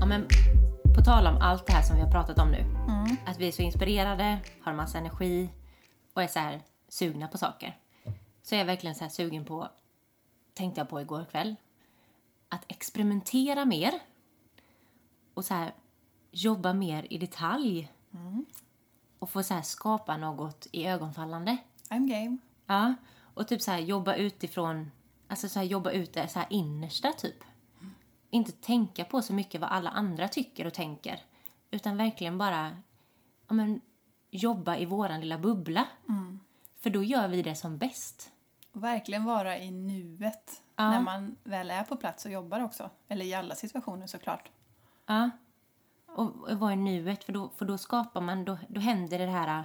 S1: Ja, men på tal om allt det här som vi har pratat om nu. Att vi är så inspirerade, har massa energi och är så här sugna på saker. Så är jag verkligen så här sugen på, tänkte jag på igår kväll, att experimentera mer och så här jobba mer i detalj. Och få så här skapa något i ögonfallande.
S2: I'm game.
S1: Ja, och typ så här jobba utifrån, alltså så här jobba ut det så här innersta typ. Inte tänka på så mycket vad alla andra tycker och tänker. Utan verkligen bara ja, men, jobba i våran lilla bubbla. För då gör vi det som bäst.
S2: Och verkligen vara i nuet
S1: Ja.
S2: när man väl är på plats och jobbar också. Eller i alla situationer såklart.
S1: Ja. Och, och vara i nuet, för då, för då skapar man, då, då händer det här,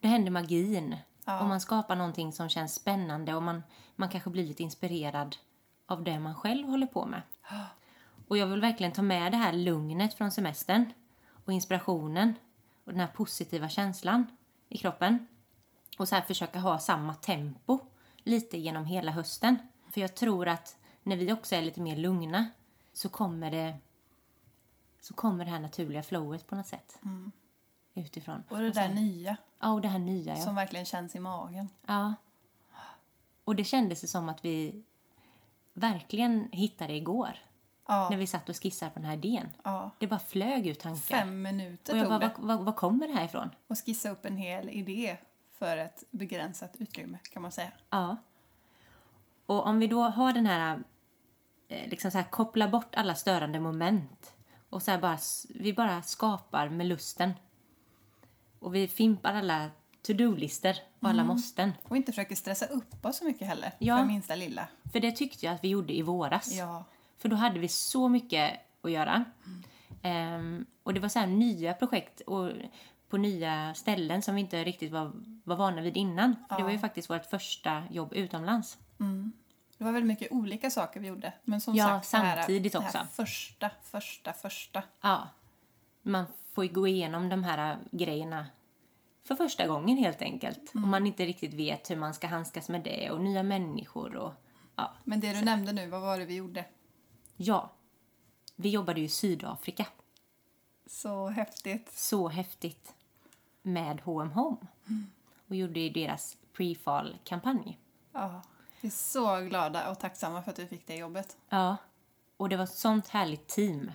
S1: då händer magin.
S2: Ja.
S1: Och man skapar någonting som känns spännande och man, man kanske blir lite inspirerad av det man själv håller på
S2: [gasps]
S1: med. Och jag vill verkligen ta med det här lugnet från semestern och inspirationen och den här positiva känslan i kroppen. Och så här försöka ha samma tempo lite genom hela hösten. För jag tror att när vi också är lite mer lugna så kommer det så kommer det här naturliga flowet på något sätt.
S2: Mm.
S1: Utifrån.
S2: Och det där nya
S1: Ja, och det här nya. Ja.
S2: som verkligen känns i magen.
S1: ja. Och det kändes det som att vi verkligen hittade det igår. När
S2: Ja,
S1: vi satt och skissade på den här idén.
S2: ja.
S1: Det bara flög ur tankar.
S2: Fem
S1: och
S2: minuter
S1: jag
S2: tog
S1: bara,
S2: det.
S1: var, var, var kommer det här ifrån?
S2: Och skissa upp en hel idé för ett begränsat utrymme kan man säga.
S1: Ja. Och om vi då har den här, eh, liksom så här koppla bort alla störande moment. Och så här bara, s- vi bara skapar med lusten. Och vi fimpar alla to-do-lister och alla måsten.
S2: Och inte försöker stressa upp oss så mycket heller.
S1: Ja.
S2: För minsta lilla.
S1: För det tyckte jag att vi gjorde i våras.
S2: Ja.
S1: För då hade vi så mycket att göra. Ehm, och det var så här nya projekt och på nya ställen som vi inte riktigt var, var vana vid innan. För det var ju faktiskt vårt första jobb utomlands.
S2: Det var väldigt mycket olika saker vi gjorde. Men som
S1: Ja,
S2: sagt,
S1: samtidigt
S2: det här, Det här
S1: också.
S2: första, första, första.
S1: Ja. Man får ju gå igenom de här grejerna för första gången helt enkelt. Om man inte riktigt vet hur man ska handskas med det och nya människor och ja.
S2: Men det du nämnde nu, vad var det vi gjorde?
S1: ja. Vi jobbade ju i Sydafrika.
S2: Så häftigt.
S1: så häftigt med H&M Home och gjorde ju deras pre-fall-kampanj.
S2: Ja. Vi är så glada och tacksamma för att du fick det jobbet.
S1: Ja, och det var ett sånt härligt team.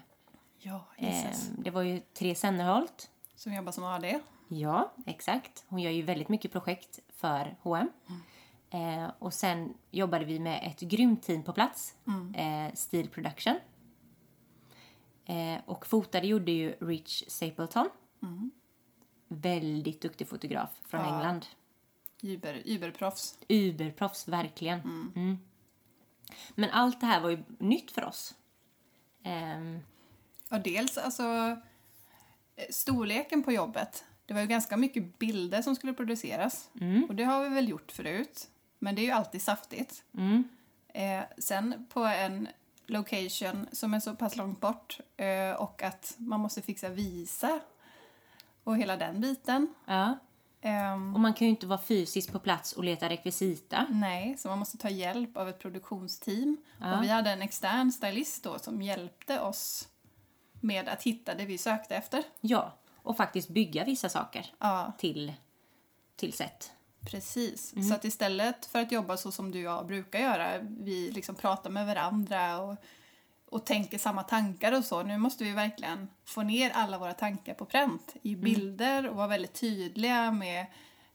S2: Ja,
S1: Eh,
S2: Jesus.
S1: det var ju Therese Sennerholt.
S2: Som jobbar som AD.
S1: Ja, exakt. Hon gör ju väldigt mycket projekt för H&M. Eh, och sen jobbade vi med ett grymt team på plats, eh, Steel Production. Eh, och fotade gjorde ju Rich Stapleton. Mm. Väldigt duktig fotograf från
S2: Ja.
S1: England.
S2: Uber, Uberproffs.
S1: Uberproffs, verkligen. Mm. Men allt det här var ju nytt för oss. Ehm,
S2: Och dels alltså eh, storleken på jobbet. Det var ju ganska mycket bilder som skulle produceras. Och det har vi väl gjort förut. Men det är ju alltid saftigt. Eh, sen på en location som är så pass långt bort eh, och att man måste fixa visa och hela den biten.
S1: ja.
S2: Ehm,
S1: Och man kan ju inte vara fysiskt på plats och leta rekvisita.
S2: Nej, så man måste ta hjälp av ett produktionsteam. Och vi hade en extern stylist då som hjälpte oss med att hitta det vi sökte efter.
S1: Ja, och faktiskt bygga vissa saker
S2: Ja,
S1: till, till set.
S2: precis.
S1: Mm.
S2: Så att istället för att jobba så som du och jag brukar göra, vi liksom pratar med varandra och, och tänker samma tankar och så. Nu måste vi verkligen få ner alla våra tankar på pränt i
S1: Mm.
S2: bilder och vara väldigt tydliga med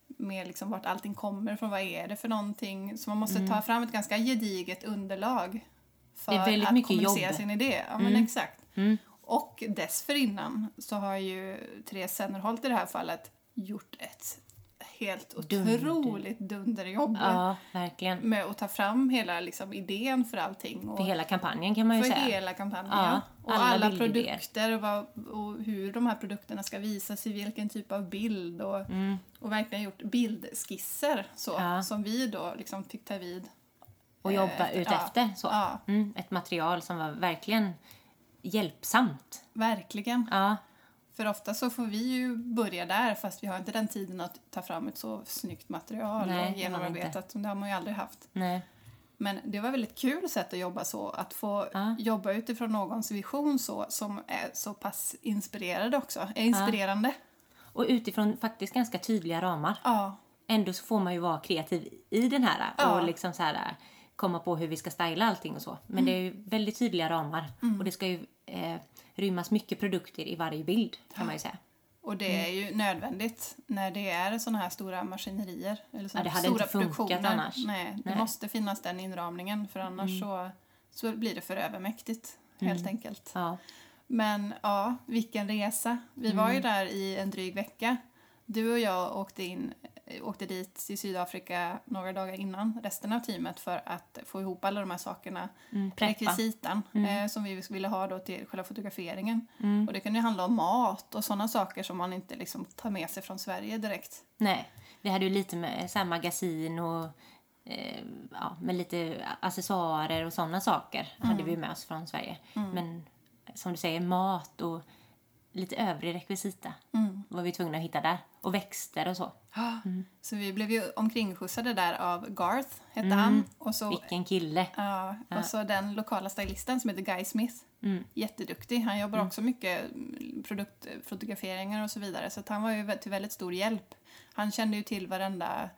S2: med liksom vart allting kommer från, vad är det för någonting. Så man måste ta fram ett ganska gediget underlag för
S1: Mm. Det är väldigt
S2: att
S1: mycket
S2: kommunicera
S1: jobb.
S2: sin idé. Ja, men
S1: Mm.
S2: exakt. Och dessförinnan så har ju Therese Sennerholt i det här fallet gjort ett helt
S1: Dunder.
S2: otroligt dunderjobb
S1: Ja, verkligen.
S2: med att ta fram hela liksom, idén för allting. Och
S1: För hela kampanjen kan man ju
S2: för
S1: säga.
S2: hela kampanjen.
S1: Ja,
S2: ja. och
S1: alla
S2: alla,
S1: bildidéer.
S2: produkter och, vad, och hur de här produkterna ska visas i vilken typ av bild. Och, och verkligen gjort bildskisser så,
S1: Mm. Ja.
S2: som vi då liksom fick ta vid.
S1: och
S2: eh,
S1: jobba
S2: efter-
S1: ut
S2: ja,
S1: efter. Så.
S2: ja.
S1: Mm, ett material som var verkligen hjälpsamt.
S2: Verkligen.
S1: Ja,
S2: För ofta så får vi ju börja där fast vi har inte den tiden att ta fram ett så snyggt
S1: Nej,
S2: material
S1: det har
S2: och
S1: vi
S2: genomarbetat. Det har man ju aldrig haft.
S1: nej.
S2: Men det var väldigt kul sätt att jobba så, att få
S1: Ja.
S2: jobba utifrån någons vision så, som är så pass inspirerade också. Är inspirerande.
S1: Och utifrån faktiskt ganska tydliga ramar.
S2: Ja,
S1: Ändå så får man ju vara kreativ i den här
S2: Ja.
S1: och liksom så här komma på hur vi ska styla allting och så. Men det är
S2: Mm.
S1: ju väldigt tydliga ramar och det ska ju eh, rymmas mycket produkter i varje bild kan man ju säga.
S2: och det
S1: Mm.
S2: är ju nödvändigt när det är sådana här stora maskinerier. Eller såna
S1: Ja, det hade
S2: stora
S1: inte funkat
S2: produktioner.
S1: annars.
S2: Nej, det
S1: Nej. Mm.
S2: måste finnas den inramningen för annars så, så blir det för övermäktigt helt enkelt.
S1: Ja,
S2: Men ja, vilken resa. Vi var
S1: Mm.
S2: ju där i en dryg vecka. Du och jag åkte, in, eh, åkte dit till Sydafrika några dagar innan resten av teamet för att få ihop alla de här sakerna.
S1: mm, preppa. Mm.
S2: Rekvisitan eh, som vi ville ha då till själva fotograferingen. Och det kunde ju handla om mat och sådana saker som man inte liksom tar med sig från Sverige direkt.
S1: Nej, vi hade ju lite med så här magasin och eh, ja, med lite accessoarer och sådana saker hade
S2: Mm.
S1: vi med oss från Sverige. Men som du säger, mat och lite övrig rekvisita
S2: Mm.
S1: var vi tvungna att hitta där. Och växter och så.
S2: Så vi blev ju omkringskjutsade där av Garth, hette
S1: Mm.
S2: han. Och så
S1: Vilken kille!
S2: Ja, och så den lokala stylisten som heter Guy Smith. Jätteduktig. Han jobbar också mycket mm, produktfotograferingar och så vidare. Så att han var ju vä- till väldigt stor hjälp. Han kände ju till varenda,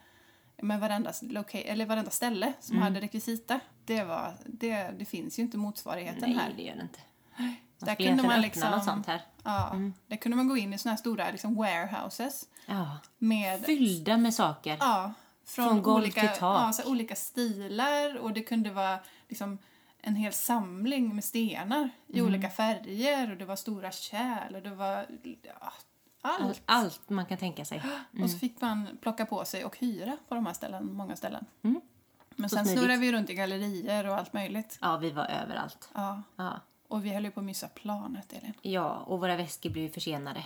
S2: men varenda, loca- eller varenda ställe som hade rekvisita. Det, var, det, det finns ju inte motsvarigheten
S1: Nej,
S2: här.
S1: det gör det inte. Man
S2: Där
S1: skulle
S2: kunde
S1: egentligen
S2: man
S1: öppna
S2: liksom-
S1: något sånt här.
S2: Ja, Där kunde man gå in i såna här stora liksom, warehouses.
S1: Ja.
S2: Med
S1: Fyllda med saker.
S2: Ja, från,
S1: Från golv
S2: olika,
S1: till tak.
S2: Ja, så här olika stilar och det kunde vara liksom en hel samling med stenar i
S1: Mm.
S2: olika färger och det var stora kärl och det var ja, allt.
S1: Allt. Mm. Allt man kan tänka sig.
S2: Och så fick man plocka på sig och hyra på de här ställen, många ställen.
S1: Mm.
S2: Men
S1: Så
S2: sen
S1: smidigt.
S2: snurrade vi runt i gallerier och allt möjligt.
S1: Ja, vi var överallt.
S2: Ja,
S1: Ja.
S2: och vi höll ju på att missa planet, Elin.
S1: ja, och våra väskor blev ju försenade.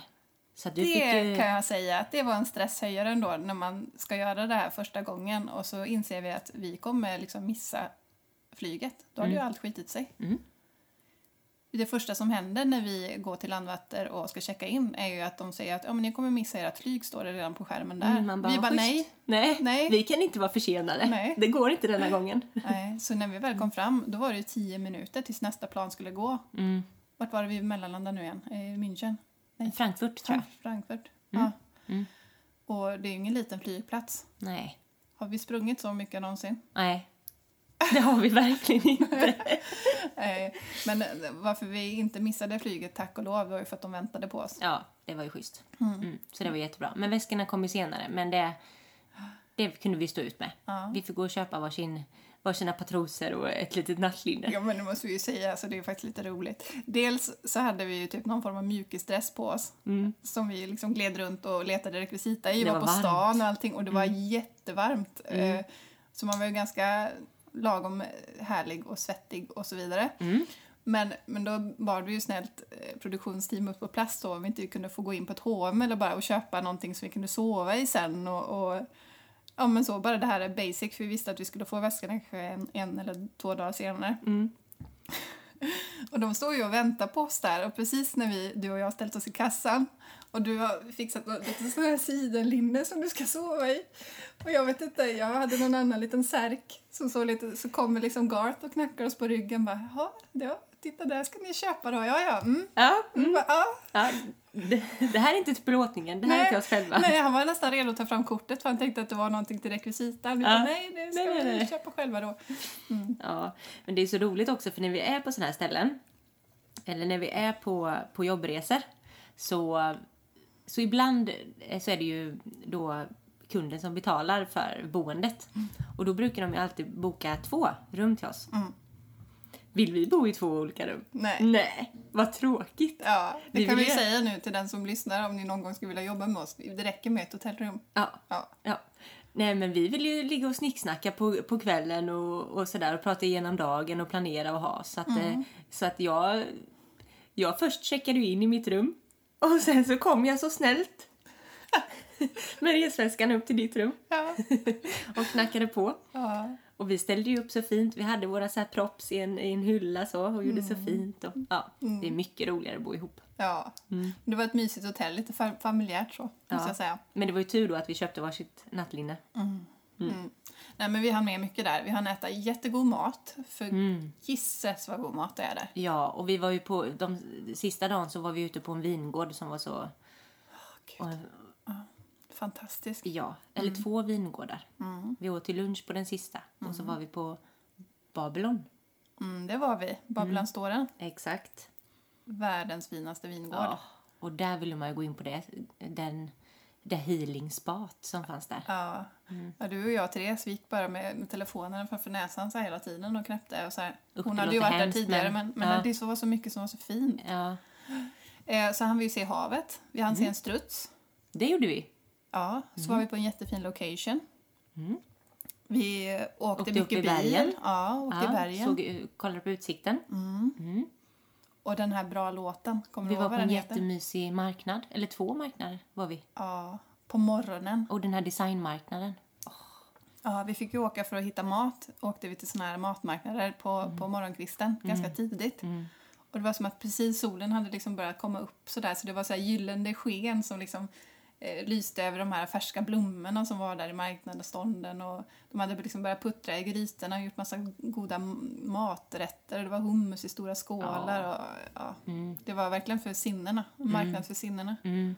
S1: Så att du fick
S2: Det
S1: ju...
S2: kan jag säga att det var en stresshöjare ändå när man ska göra det här första gången och så inser vi att vi kommer liksom missa flyget. Då har ju allt skitit sig.
S1: Mm.
S2: Det första som händer när vi går till Landvetter och ska checka in är ju att de säger att ja, men ni kommer missa ert flyg, står det redan på skärmen där.
S1: Mm, man bara,
S2: vi bara
S1: "Schysst."
S2: nej.
S1: nej.
S2: Nej.
S1: Vi kan inte vara försenade.
S2: Nej.
S1: Det går inte denna gången.
S2: [laughs] nej. Så när vi väl kom fram, då var det ju tio minuter tills nästa plan skulle gå.
S1: Mm.
S2: Vart var det vi mellanlandade nu igen? I München? Nej.
S1: Frankfurt, tror jag.
S2: Frankfurt. Ja.
S1: Mm.
S2: Och det är ju ingen liten flygplats.
S1: Nej.
S2: Har vi sprungit så mycket någonsin?
S1: Nej. Det har vi verkligen inte.
S2: Eh, Men varför vi inte missade flyget, tack och lov, var ju för att de väntade på oss.
S1: Ja, det var ju schysst. Mm. Så det var jättebra. Men väskorna kom ju senare. Men det, det kunde vi stå ut med.
S2: Ja.
S1: Vi fick gå och köpa varsin, varsina patroser och ett litet nattlinne.
S2: Ja, men det måste vi ju säga, så det är faktiskt lite roligt. Dels så hade vi ju typ någon form av mjukisdress på oss som vi liksom gled runt och letade rekvisita i,
S1: Mm. Det
S2: var,
S1: var
S2: på
S1: varmt. Mm.
S2: stan och allting och det var jättevarmt. Eh, Så man var ju ganska lagom härlig och svettig och så vidare.
S1: Mm.
S2: Men, men då bad vi ju snällt eh, produktionsteamet på plats då om vi inte kunde få gå in på ett H&M eller bara och köpa någonting som vi kunde sova i sen och, och ja men så bara det här är basic för vi visste att vi skulle få väskan kanske en, en eller två dagar senare. Och de stod ju och väntade på oss där och precis när vi, du och jag ställt oss i kassan och du har fixat något- lite sån här sidenlinne som du ska sova i. Och jag vet inte, jag hade någon annan liten särk som såg lite, så kommer liksom Garth och knackar oss på ryggen bara jaha, ja, titta där ska ni köpa då, ja ja, mm.
S1: Ja,
S2: Mm. Bara, ja.
S1: ja. Det, det här är inte till plåtningen. Det här är till oss själva.
S2: Nej, han var nästan redo att ta fram kortet för han tänkte att det var någonting till rekvisitan. Vi
S1: Ja.
S2: bara, nej, det ska
S1: Nej, nej,
S2: vi
S1: nej.
S2: köpa själva då.
S1: Ja, men det är så roligt också för när vi är på sådana här ställen eller när vi är på, på jobbresor så, så ibland eh, så är det ju då kunden som betalar för boendet. Och då brukar de ju alltid boka två rum till oss. Vill vi bo i två olika rum?
S2: Nej.
S1: Nej, vad tråkigt.
S2: Ja, det
S1: Vi
S2: kan vi
S1: vill
S2: ju
S1: ju-
S2: säga nu till den som lyssnar om ni någon gång skulle vilja jobba med oss. Det räcker med ett hotellrum.
S1: Ja,
S2: Ja.
S1: ja. Nej, men vi vill ju ligga och snicksnacka på, på kvällen och, och sådär och prata igenom dagen och planera och ha. Så att, eh, så att jag, jag först checkade ju in i mitt rum och sen så kom jag så snällt [laughs] med resväskan upp till ditt rum [laughs]
S2: Ja.
S1: och knackade på.
S2: ja.
S1: Och vi ställde ju upp så fint. Vi hade våra så här props i en, i en hylla så och gjorde så fint. Och, ja, Det är mycket roligare att bo ihop.
S2: ja.
S1: Mm.
S2: Det var ett mysigt hotell, lite fa- familjärt så, måste jag säga.
S1: Men det var ju tur då att vi köpte varsitt nattlinne. Mm.
S2: Mm. Nej, men vi hann med mycket där. Vi hann äta jättegod mat, för
S1: Mm.
S2: gisses vad god mat det är där.
S1: Ja, och vi var ju på, de sista dagen så var vi ute på en vingård som var så,
S2: Gud. Fantastiskt.
S1: ja, eller
S2: Mm.
S1: två vingårdar. Vi åt till lunch på den sista och så var vi på Babylon.
S2: Mm, det var vi. Babylonståren.
S1: Exakt.
S2: Världens finaste vingård.
S1: Mm. Ja, och där ville man ju gå in på det, den, det healing spat som fanns där.
S2: Ja.
S1: Mm.
S2: ja, du och jag Therese vi gick bara med, med telefonen framför näsan så här hela tiden och knäppte. Och så här.
S1: Usch,
S2: Hon
S1: det
S2: hade ju
S1: låter
S2: varit där
S1: hemskt,
S2: tidigare
S1: men-
S2: men, men
S1: ja.
S2: det så var så mycket som var så fint.
S1: Ja,
S2: Eh, så hann vi ju se havet. Vi
S1: Mm.
S2: hann se en struts.
S1: det gjorde vi.
S2: Ja, så
S1: Mm.
S2: var vi på en jättefin location. Vi eh, åkte,
S1: Åkte upp i
S2: mycket
S1: bergen.
S2: bil. Ja, åkte i bergen.
S1: såg, eh, kollade på utsikten.
S2: Och den här bra låten, kommer
S1: Vi
S2: du
S1: var
S2: ihåg
S1: på
S2: vad den
S1: en
S2: heter?
S1: jättemysig marknad, eller två marknader var vi.
S2: Ja, på morgonen.
S1: Och den här designmarknaden.
S2: Ja, vi fick ju åka för att hitta mat. Åkte vi till såna här matmarknader på, på morgonkvisten ganska tidigt. Och det var som att precis solen hade liksom börjat komma upp sådär så det var så här gyllene sken som liksom eh, lyste över de här färska blommorna som var där i marknadsstånden och de hade liksom börjat puttra i grytorna och gjort massa goda m- maträtter och det var hummus i stora skålar och ja. Mm. Det var verkligen för sinnena, en marknad för sinnena.
S1: Mm.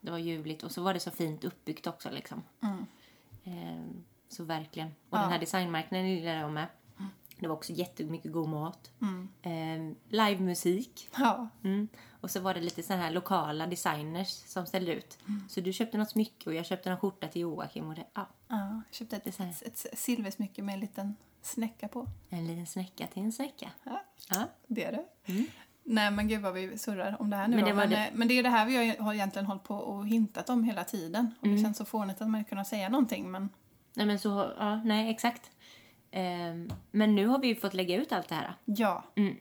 S1: Det var ljuvligt och så var det så fint uppbyggt också liksom. Ehm, så verkligen. Och den här designmarknaden gillade jag med. Det var också jättemycket god mat. Mm. Livemusik.
S2: Ja,
S1: Mm. Och så var det lite sådana här lokala designers som ställde ut. Så du köpte något smycke och jag köpte en skjorta till Joakim och det, ja,
S2: ja. Jag köpte ett,
S1: Design.
S2: ett, ett silversmycke med en liten snäcka på.
S1: en liten snäcka till en snäcka.
S2: Ja.
S1: Ja.
S2: Det är det. Nej men gud vad vi surrar om det här nu
S1: Mm. Men
S2: men
S1: det
S2: det,
S1: var
S2: men,
S1: det-
S2: eh, men det är det här vi har- har egentligen hållit på och hintat om hela tiden. Och
S1: Mm.
S2: det känns så fånigt att man inte kunna säga någonting men
S1: Nej men så, ja, nej exakt. Ehm, men nu har vi ju fått lägga ut allt det här.
S2: ja.
S1: Mm.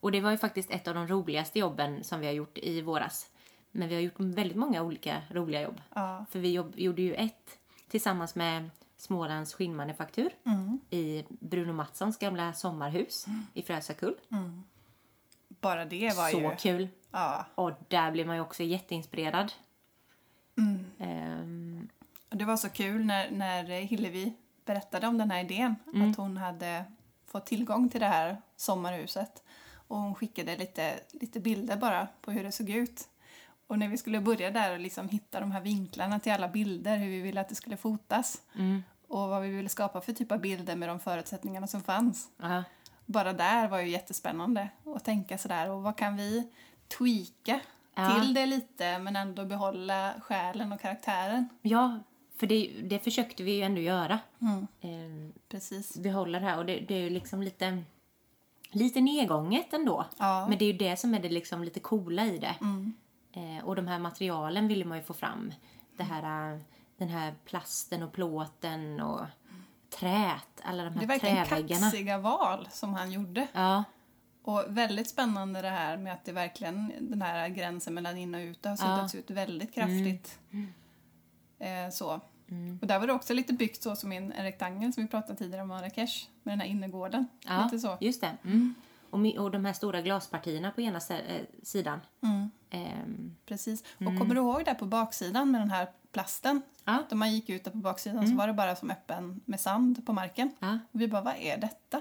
S1: Och det var ju faktiskt ett av de roligaste jobben som vi har gjort i våras. Men vi har gjort väldigt många olika roliga jobb.
S2: Ja.
S1: För vi jobb, gjorde ju ett tillsammans med Smålands skinnmanufaktur
S2: Mm.
S1: i Bruno Mattssons gamla sommarhus i Frösakull.
S2: Bara Mm. det var
S1: Så
S2: ju...
S1: kul!
S2: Ja.
S1: Och där blev man ju också jätteinspirerad.
S2: Mm.
S1: Ehm,
S2: Och Det var så kul när, när Hillevi berättade om den här idén. Att hon hade fått tillgång till det här sommarhuset. Och hon skickade lite, lite bilder bara på hur det såg ut. Och när vi skulle börja där och liksom hitta de här vinklarna till alla bilder, hur vi ville att det skulle fotas. Och vad vi ville skapa för typ av bilder med de förutsättningarna som fanns.
S1: ja.
S2: Bara där var ju jättespännande att tänka sådär. Och vad kan vi tweaka till det lite men ändå behålla själen och karaktären?
S1: ja, för det, det försökte vi ju ändå göra.
S2: Mm.
S1: Ehm,
S2: Precis.
S1: behålla det här. Och det, det är ju liksom lite, lite nedgånget ändå.
S2: Ja. Mm.
S1: Men det är ju det som är det liksom lite coola i det. Eh, och de här materialen ville man ju få fram. Det här, eh, den här plasten och plåten och trät. Alla de
S2: Det är
S1: här
S2: verkligen
S1: träväggarna.
S2: kaxiga val som han gjorde.
S1: Ja,
S2: Och väldigt spännande det här med att det verkligen, den här gränsen mellan in och ut har suddats ut väldigt kraftigt.
S1: Mm.
S2: Eh, så. Och där var det också lite byggt så som i en, en rektangel som vi pratade tidigare om Marrakesh. Med den här innergården.
S1: ja
S2: Lite så.
S1: just det. Mm. Och, mi- och de här stora glaspartierna på ena sä- eh, sidan.
S2: Mm.
S1: Ehm,
S2: Precis. Och kommer du ihåg där på baksidan med den här plasten?
S1: Ja. Mm.
S2: Då man gick ut där på baksidan så var det bara som öppen med sand på marken.
S1: Ja.
S2: Och vi bara, vad är detta?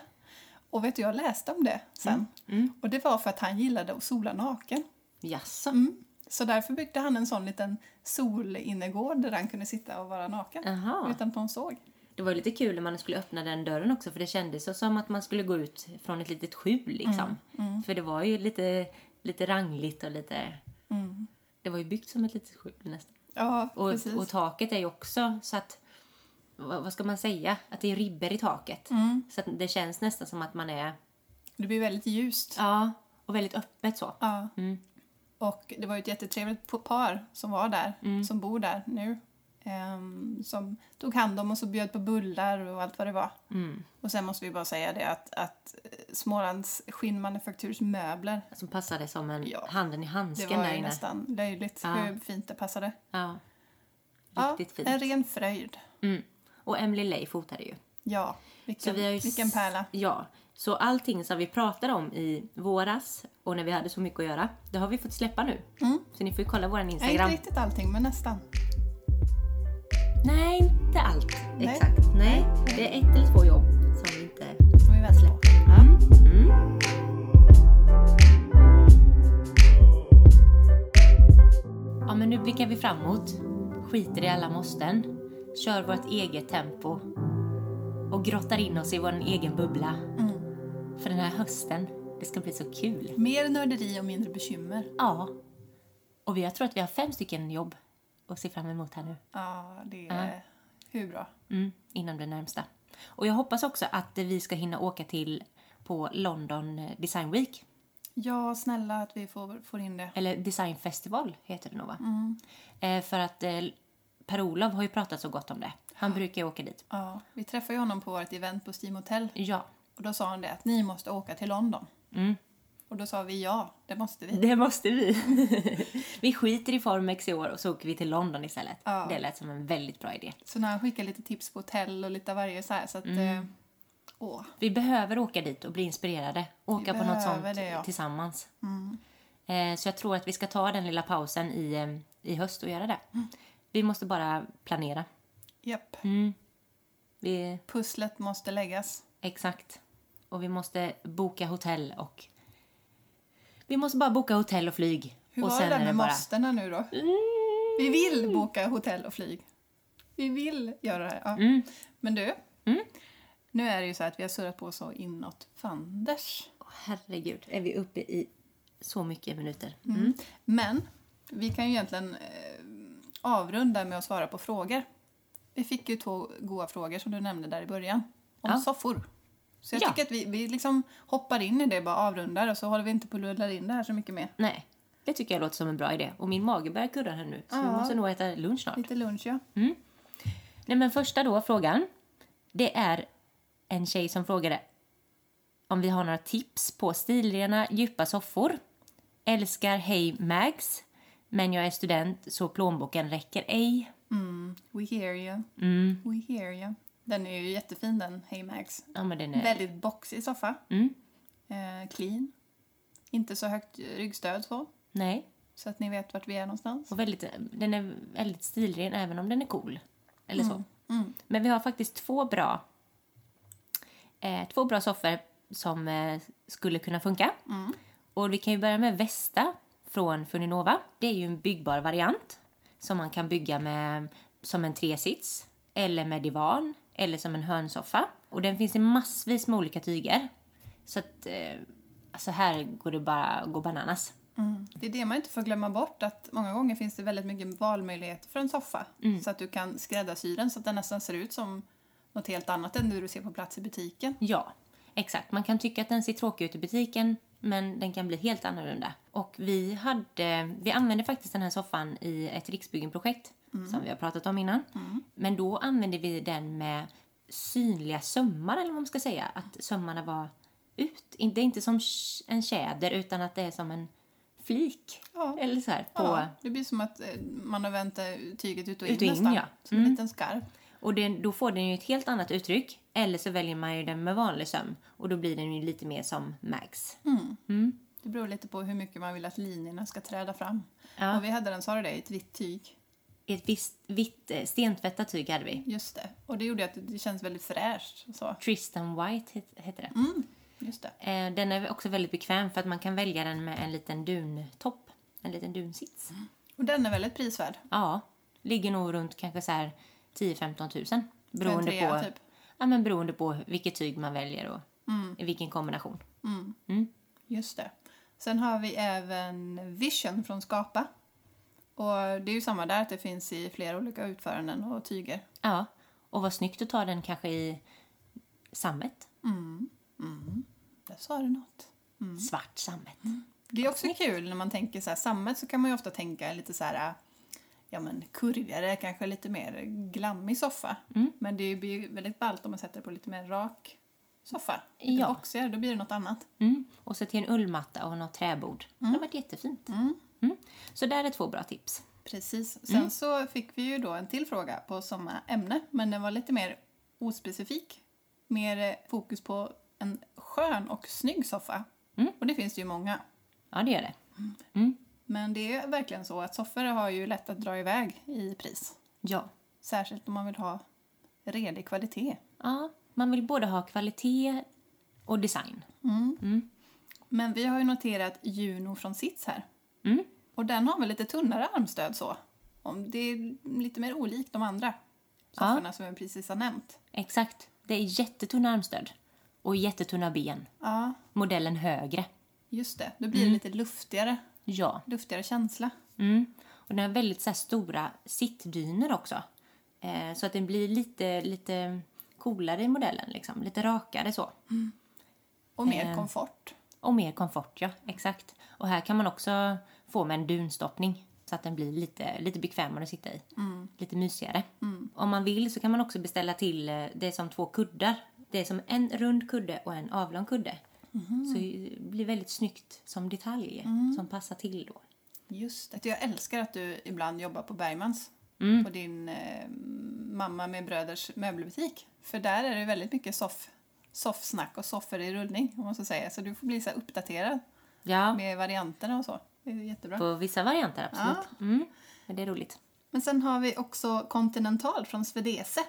S2: Och vet du, jag läste om det sen.
S1: Mm.
S2: Och det var för att han gillade att sola naken.
S1: jaså?
S2: Mm. Så därför byggde han en sån liten solinnergård där han kunde sitta och vara naken.
S1: Jaha.
S2: Utan att någon såg.
S1: Det var ju lite kul när man skulle öppna den dörren också för det kändes så som att man skulle gå ut från ett litet skjul liksom.
S2: Mm,
S1: För det var ju lite, lite rangligt och lite... Det var ju byggt som ett litet skjul nästan.
S2: Ja,
S1: Och,
S2: Mm. precis.
S1: och taket är ju också så att...
S2: Mm.
S1: Vad, vad ska man säga? Att det är ribbor i taket. Så att det känns nästan som att man är
S2: Det blir väldigt ljust.
S1: Ja, och väldigt öppet så.
S2: Ja.
S1: Mm.
S2: Och det var ju ett jättetrevligt po- par som var där,
S1: Mm.
S2: som bor där nu. ehm, som tog hand om oss och bjöd på bullar och allt vad det var.
S1: Mm.
S2: Och sen måste vi bara säga det att, att eh, Smålands skinnmanufakturs möbler,
S1: Som passade som en
S2: Ja.
S1: handen i
S2: det
S1: handsken
S2: var
S1: där
S2: ju
S1: inne.
S2: nästan löjligt
S1: Ja.
S2: hur fint det passade.
S1: Ja. Riktigt
S2: en
S1: fint.
S2: ren fröjd.
S1: Mm. Och Emily Lay fotade ju.
S2: Ja, vilken,
S1: vi har ju s-
S2: vilken pärla.
S1: Ja, så allting som vi pratade om i våras och när vi hade så mycket att göra, det har vi fått släppa nu. Så ni får ju kolla vår
S2: Nej, Mm. inte
S1: Instagram.
S2: riktigt allting, men nästan.
S1: Nej, inte allt.
S2: Nej.
S1: Exakt. Nej, det är ett eller två jobb som vi inte
S2: Som vi väntar på.
S1: släpper. Mm. Mm. Ja, men nu blickar vi framåt. Skiter i alla måsten. Kör vårt eget tempo. Och grottar in oss i vår egen bubbla.
S2: Mm.
S1: För den här hösten, det ska bli så kul.
S2: Mer nörderi och mindre bekymmer.
S1: Ja. Och vi, jag tror att vi har fem stycken jobb att se fram emot här nu.
S2: Ja, det är hur bra.
S1: Mm, inom det närmsta. Och jag hoppas också att vi ska hinna åka till på London eh, Design Week.
S2: Ja, snälla att vi får, får in det.
S1: Eller Design Festival heter det nog va?
S2: Mm.
S1: Eh, för att eh, Per-Olof har ju pratat så gott om det. Han brukar ju åka dit.
S2: Ja, vi träffade ju honom på vårt event på Steam Hotel
S1: Ja,
S2: och då sa han det att ni måste åka till London.
S1: Mm.
S2: Och då sa vi ja, det måste vi.
S1: det måste vi. [laughs] vi skiter i Formex i år och så åker vi till London istället.
S2: Ja.
S1: Det lät som en väldigt bra idé.
S2: Så när han skickade lite tips på hotell och lite av varje så här så att...
S1: Mm.
S2: Eh, åh,
S1: Vi behöver åka dit och bli inspirerade. Åka på något
S2: behöver
S1: sånt
S2: det, ja. Mm.
S1: tillsammans. Eh, Så jag tror att vi ska ta den lilla pausen i, eh, i höst och göra det.
S2: Mm.
S1: Vi måste bara planera.
S2: japp.
S1: Mm. Vi,
S2: Pusslet måste läggas.
S1: exakt. Och vi måste boka hotell och... Vi måste bara boka hotell och flyg.
S2: Hur
S1: och
S2: var det där
S1: är
S2: med
S1: bara-
S2: måstena nu då? Vi vill boka hotell och flyg. Vi vill göra det här. Ja.
S1: Mm.
S2: Men du, nu är det ju så att vi har surrat på så inåt fanders.
S1: Åh, Herregud, är vi uppe i så mycket minuter? Mm.
S2: Men vi kan ju egentligen eh, avrunda med att svara på frågor. Vi fick ju två goda frågor som du nämnde där i början. Om
S1: Ja.
S2: soffor. Så jag
S1: Ja.
S2: tycker att vi, vi liksom hoppar in i det, bara avrundar och så håller vi inte på och lullar in det här så mycket mer.
S1: Nej, det tycker jag låter som en bra idé. Och min mage börjar kurra här nu, så vi
S2: Ja. Mm.
S1: måste nog äta lunch snart.
S2: Lite lunch ja.
S1: Nej, men första då frågan. Det är en tjej som frågade om vi har några tips på stilrena, djupa soffor. Älskar Hey Mags, men jag är student så plånboken räcker ej.
S2: We hear you.
S1: Mm.
S2: We hear you. Den är ju jättefin den, Hey Max.
S1: Ja, men den är...
S2: Väldigt boxig soffa.
S1: Mm.
S2: Eh, clean. Inte så högt ryggstöd så.
S1: Nej.
S2: Så att ni vet vart vi är någonstans.
S1: Och väldigt, den är väldigt stilren även om den är cool. Eller så.
S2: mm.
S1: Men vi har faktiskt två bra eh, två bra soffor som eh, skulle kunna funka.
S2: Mm.
S1: Och vi kan ju börja med Vesta från Funinova. Det är ju en byggbar variant som man kan bygga med som en tresits eller med divan eller som en hörnsoffa. Och den finns i massvis med olika tyger. Så att eh, alltså här går det bara att gå bananas.
S2: Det är det man inte får glömma bort att många gånger finns det väldigt mycket valmöjligheter för en soffa.
S1: Mm.
S2: Så att du kan skräddarsy den så att den nästan ser ut som något helt annat än det du ser på plats i butiken.
S1: Ja, exakt. Man kan tycka att den ser tråkig ut i butiken, men den kan bli helt annorlunda. Och vi, hade, vi använde faktiskt den här soffan i ett Riksbyggenprojekt
S2: Mm.
S1: som vi har pratat om innan. Men då använde vi den med synliga sömmar, eller vad man ska säga. Att sömmarna var ut. In- Det är inte som sh- en tjäder, utan att det är som en flik.
S2: Ja.
S1: Eller så här, på...
S2: Ja, det blir som att eh, man har vänt eh, tyget ut och in,
S1: Ut och in,
S2: nästan.
S1: ja. Mm.
S2: Som en liten skarv.
S1: Och det, då får den ju ett helt annat uttryck. Eller så väljer man ju den med vanlig söm. Och då blir den ju lite mer som Max.
S2: Det beror lite på hur mycket man vill att linjerna ska träda fram.
S1: Ja.
S2: Och vi hade den, sa du det, i ett vitt tyg.
S1: i ett visst, vitt eh, stentvättat tyg hade vi.
S2: Just det. Och det gjorde att det känns väldigt fräscht. Så.
S1: Tristan White het- hette det.
S2: Mm. Just det.
S1: Eh, Den är också väldigt bekväm för att man kan välja den med en liten duntopp. En liten dunsits.
S2: Och den är väldigt prisvärd.
S1: Ja, ligger nog runt kanske så här 10-15 tusen. Beroende
S2: trea,
S1: på,
S2: typ.
S1: ja, men beroende på vilket tyg man väljer och
S2: Mm.
S1: i vilken kombination.
S2: Just det. Sen har vi även Vision från Skapa. Och det är ju samma där, att det finns i flera olika utföranden och tyger.
S1: Ja, och vad snyggt att ta den kanske i sammet.
S2: Där sa du något.
S1: Svart sammet.
S2: Det är också kul när man tänker så här, sammet så kan man ju ofta tänka lite så här, ja men kurvigare, kanske lite mer glammig soffa. Men det blir ju väldigt ballt om man sätter det på lite mer rak soffa. Lite
S1: Ja.
S2: boxigare, då blir det något annat.
S1: Mm. Och så till en ullmatta och något träbord. Det har varit jättefint. Mm. Så där är två bra tips.
S2: Precis. Sen så fick vi ju då en till fråga på samma ämne, men den var lite mer ospecifik. Mer eh, fokus på en skön och snygg soffa. Och det finns det ju många.
S1: Ja, det gör det.
S2: Men det är verkligen så att soffor har ju lätt att dra iväg i pris.
S1: Ja.
S2: Särskilt om man vill ha redig kvalitet.
S1: ja. Man vill både ha kvalitet och design.
S2: Men vi har ju noterat Juno från Sits här.
S1: Mm.
S2: Och den har väl lite tunnare armstöd så. Om det är lite mer olikt de andra sofforna som vi precis har nämnt.
S1: Exakt. Det är jättetunna armstöd och jättetunna ben.
S2: Ja,
S1: Modellen högre.
S2: just det. Då blir det lite luftigare,
S1: Ja.
S2: luftigare känsla.
S1: Mm. Och den har väldigt så här, stora sittdyner också. Eh, så att den blir lite, lite coolare i modellen. Liksom. Lite rakare så.
S2: Och mer komfort.
S1: Och mer komfort, ja. Exakt. Och här kan man också få med en dunstoppning så att den blir lite, lite bekvämare att sitta i. Lite mysigare. Om man vill så kan man också beställa till eh, det är som två kuddar. Det är som en rund kudde och en avlång kudde. Så det blir väldigt snyggt som detalj som passar till då.
S2: Just det. Jag älskar att du ibland jobbar på Bergmans. På din eh, mamma med bröders möbelbutik. För där är det väldigt mycket soff, soffsnack och soffor i rullning. Om man så säger. Så du får bli så här uppdaterad
S1: Ja,
S2: med varianterna och så. Det är jättebra.
S1: på vissa varianter absolut. Mm. Men det är roligt.
S2: Men sen har vi också Continental från Svedese.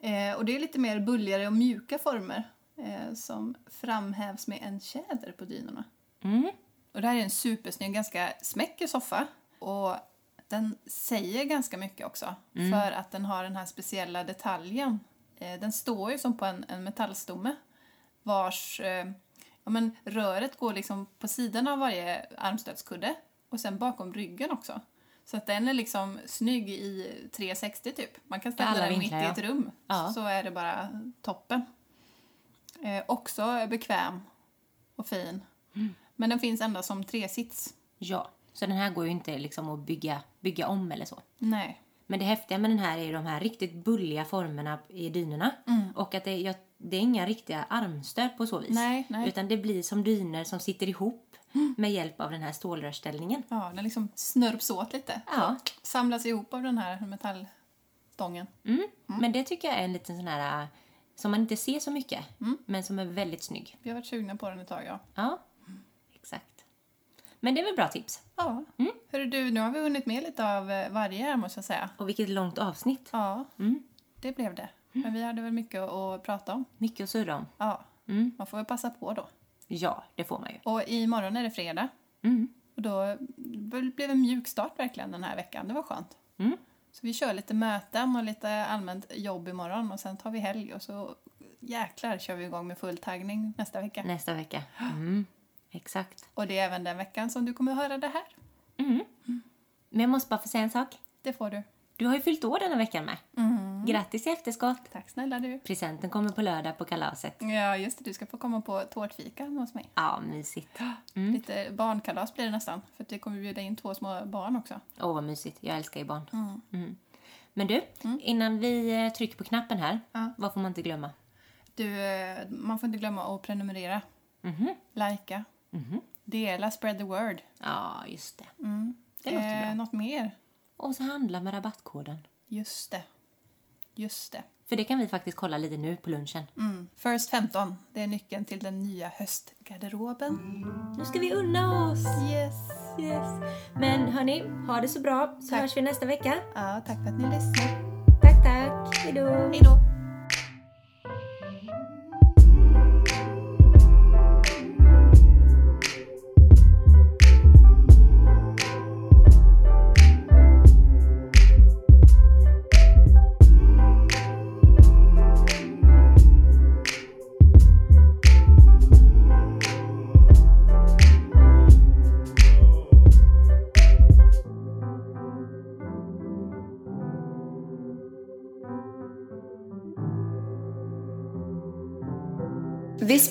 S2: Eh, och det är lite mer bulligare och mjuka former eh, som framhävs med en tjäder på dynorna.
S1: Mm.
S2: Och det här är en supersnygg, ganska smäcker soffa. Och den säger ganska mycket också
S1: Mm.
S2: för att den har den här speciella detaljen. Eh, den står ju som på en, en metallstomme vars eh, ja, men röret går liksom på sidan av varje armstödskudde och sen bakom ryggen också. Så att den är liksom snygg i 360 typ. Man kan ställa
S1: Alla
S2: den
S1: vinklar,
S2: mitt i
S1: ja.
S2: ett rum
S1: Ja.
S2: så är det bara toppen. Eh, också bekväm och fin. Men den finns endast som tresits.
S1: Ja, så den här går ju inte liksom att bygga, bygga om eller så.
S2: Nej.
S1: Men det häftiga med den här är ju de här riktigt bulliga formerna i dynorna. Och att det, jag, det är inga riktiga armstöd på så vis.
S2: Nej, nej.
S1: Utan det blir som dyner som sitter ihop med hjälp av den här stålrörsställningen.
S2: Ja, den liksom snörps åt lite.
S1: Ja.
S2: Samlas ihop av den här metallstången.
S1: Mm. Men det tycker jag är en liten sån här äh, som man inte ser så mycket, men som är väldigt snygg.
S2: Vi har varit sugna på den ett tag, ja.
S1: Ja, exakt. Men det är väl bra tips.
S2: Ja. Mm. Hörru du, nu har vi hunnit med lite av eh, varje här, måste jag säga.
S1: Och vilket långt avsnitt.
S2: Ja,
S1: Mm.
S2: det blev det. Men vi hade väl mycket att prata om.
S1: Mycket att surra om.
S2: Ja,
S1: Mm.
S2: man får väl passa på då.
S1: Ja, det får man ju.
S2: Och imorgon är det fredag.
S1: Mm.
S2: Och då det blev en mjuk start verkligen den här veckan. Det var skönt.
S1: Mm.
S2: Så vi kör lite möten och lite allmänt jobb imorgon och sen tar vi helg och så jäklar kör vi igång med full taggning nästa vecka.
S1: Nästa vecka. Mm. Exakt.
S2: Och det är även den veckan som du kommer höra det här.
S1: Men jag måste bara få säga en sak.
S2: Det får du.
S1: Du har ju fyllt år denna veckan med. Grattis i efterskott!
S2: Tack snälla du.
S1: Presenten kommer på lördag på kalaset.
S2: Ja, just det. Du ska få komma på tårtfika hos mig.
S1: Ja, mysigt. Mm.
S2: Lite barnkalas blir det nästan. För att vi kommer bjuda in två små barn också.
S1: Åh, vad mysigt. Jag älskar ju barn. Mm. Men du, innan vi eh, trycker på knappen här,
S2: Ja.
S1: vad får man inte glömma?
S2: Du, eh, man får inte glömma att prenumerera,
S1: Mhm.
S2: likea, dela, spread the word. Eh,
S1: Ja, just det. Det låter bra.
S2: Något mer?
S1: Och så handla med rabattkoden.
S2: Just det. Just det.
S1: För det kan vi faktiskt kolla lite nu på lunchen.
S2: Mm. First 15, det är nyckeln till den nya
S1: Mm.
S2: höstgarderoben.
S1: Nu ska vi unna oss!
S2: Yes!
S1: Yes. Men hörni, ha det så bra så
S2: Tack.
S1: hörs vi nästa vecka.
S2: Ja, tack för att ni lyssnade.
S1: Tack, tack. Hej då!
S2: Hej då!
S3: This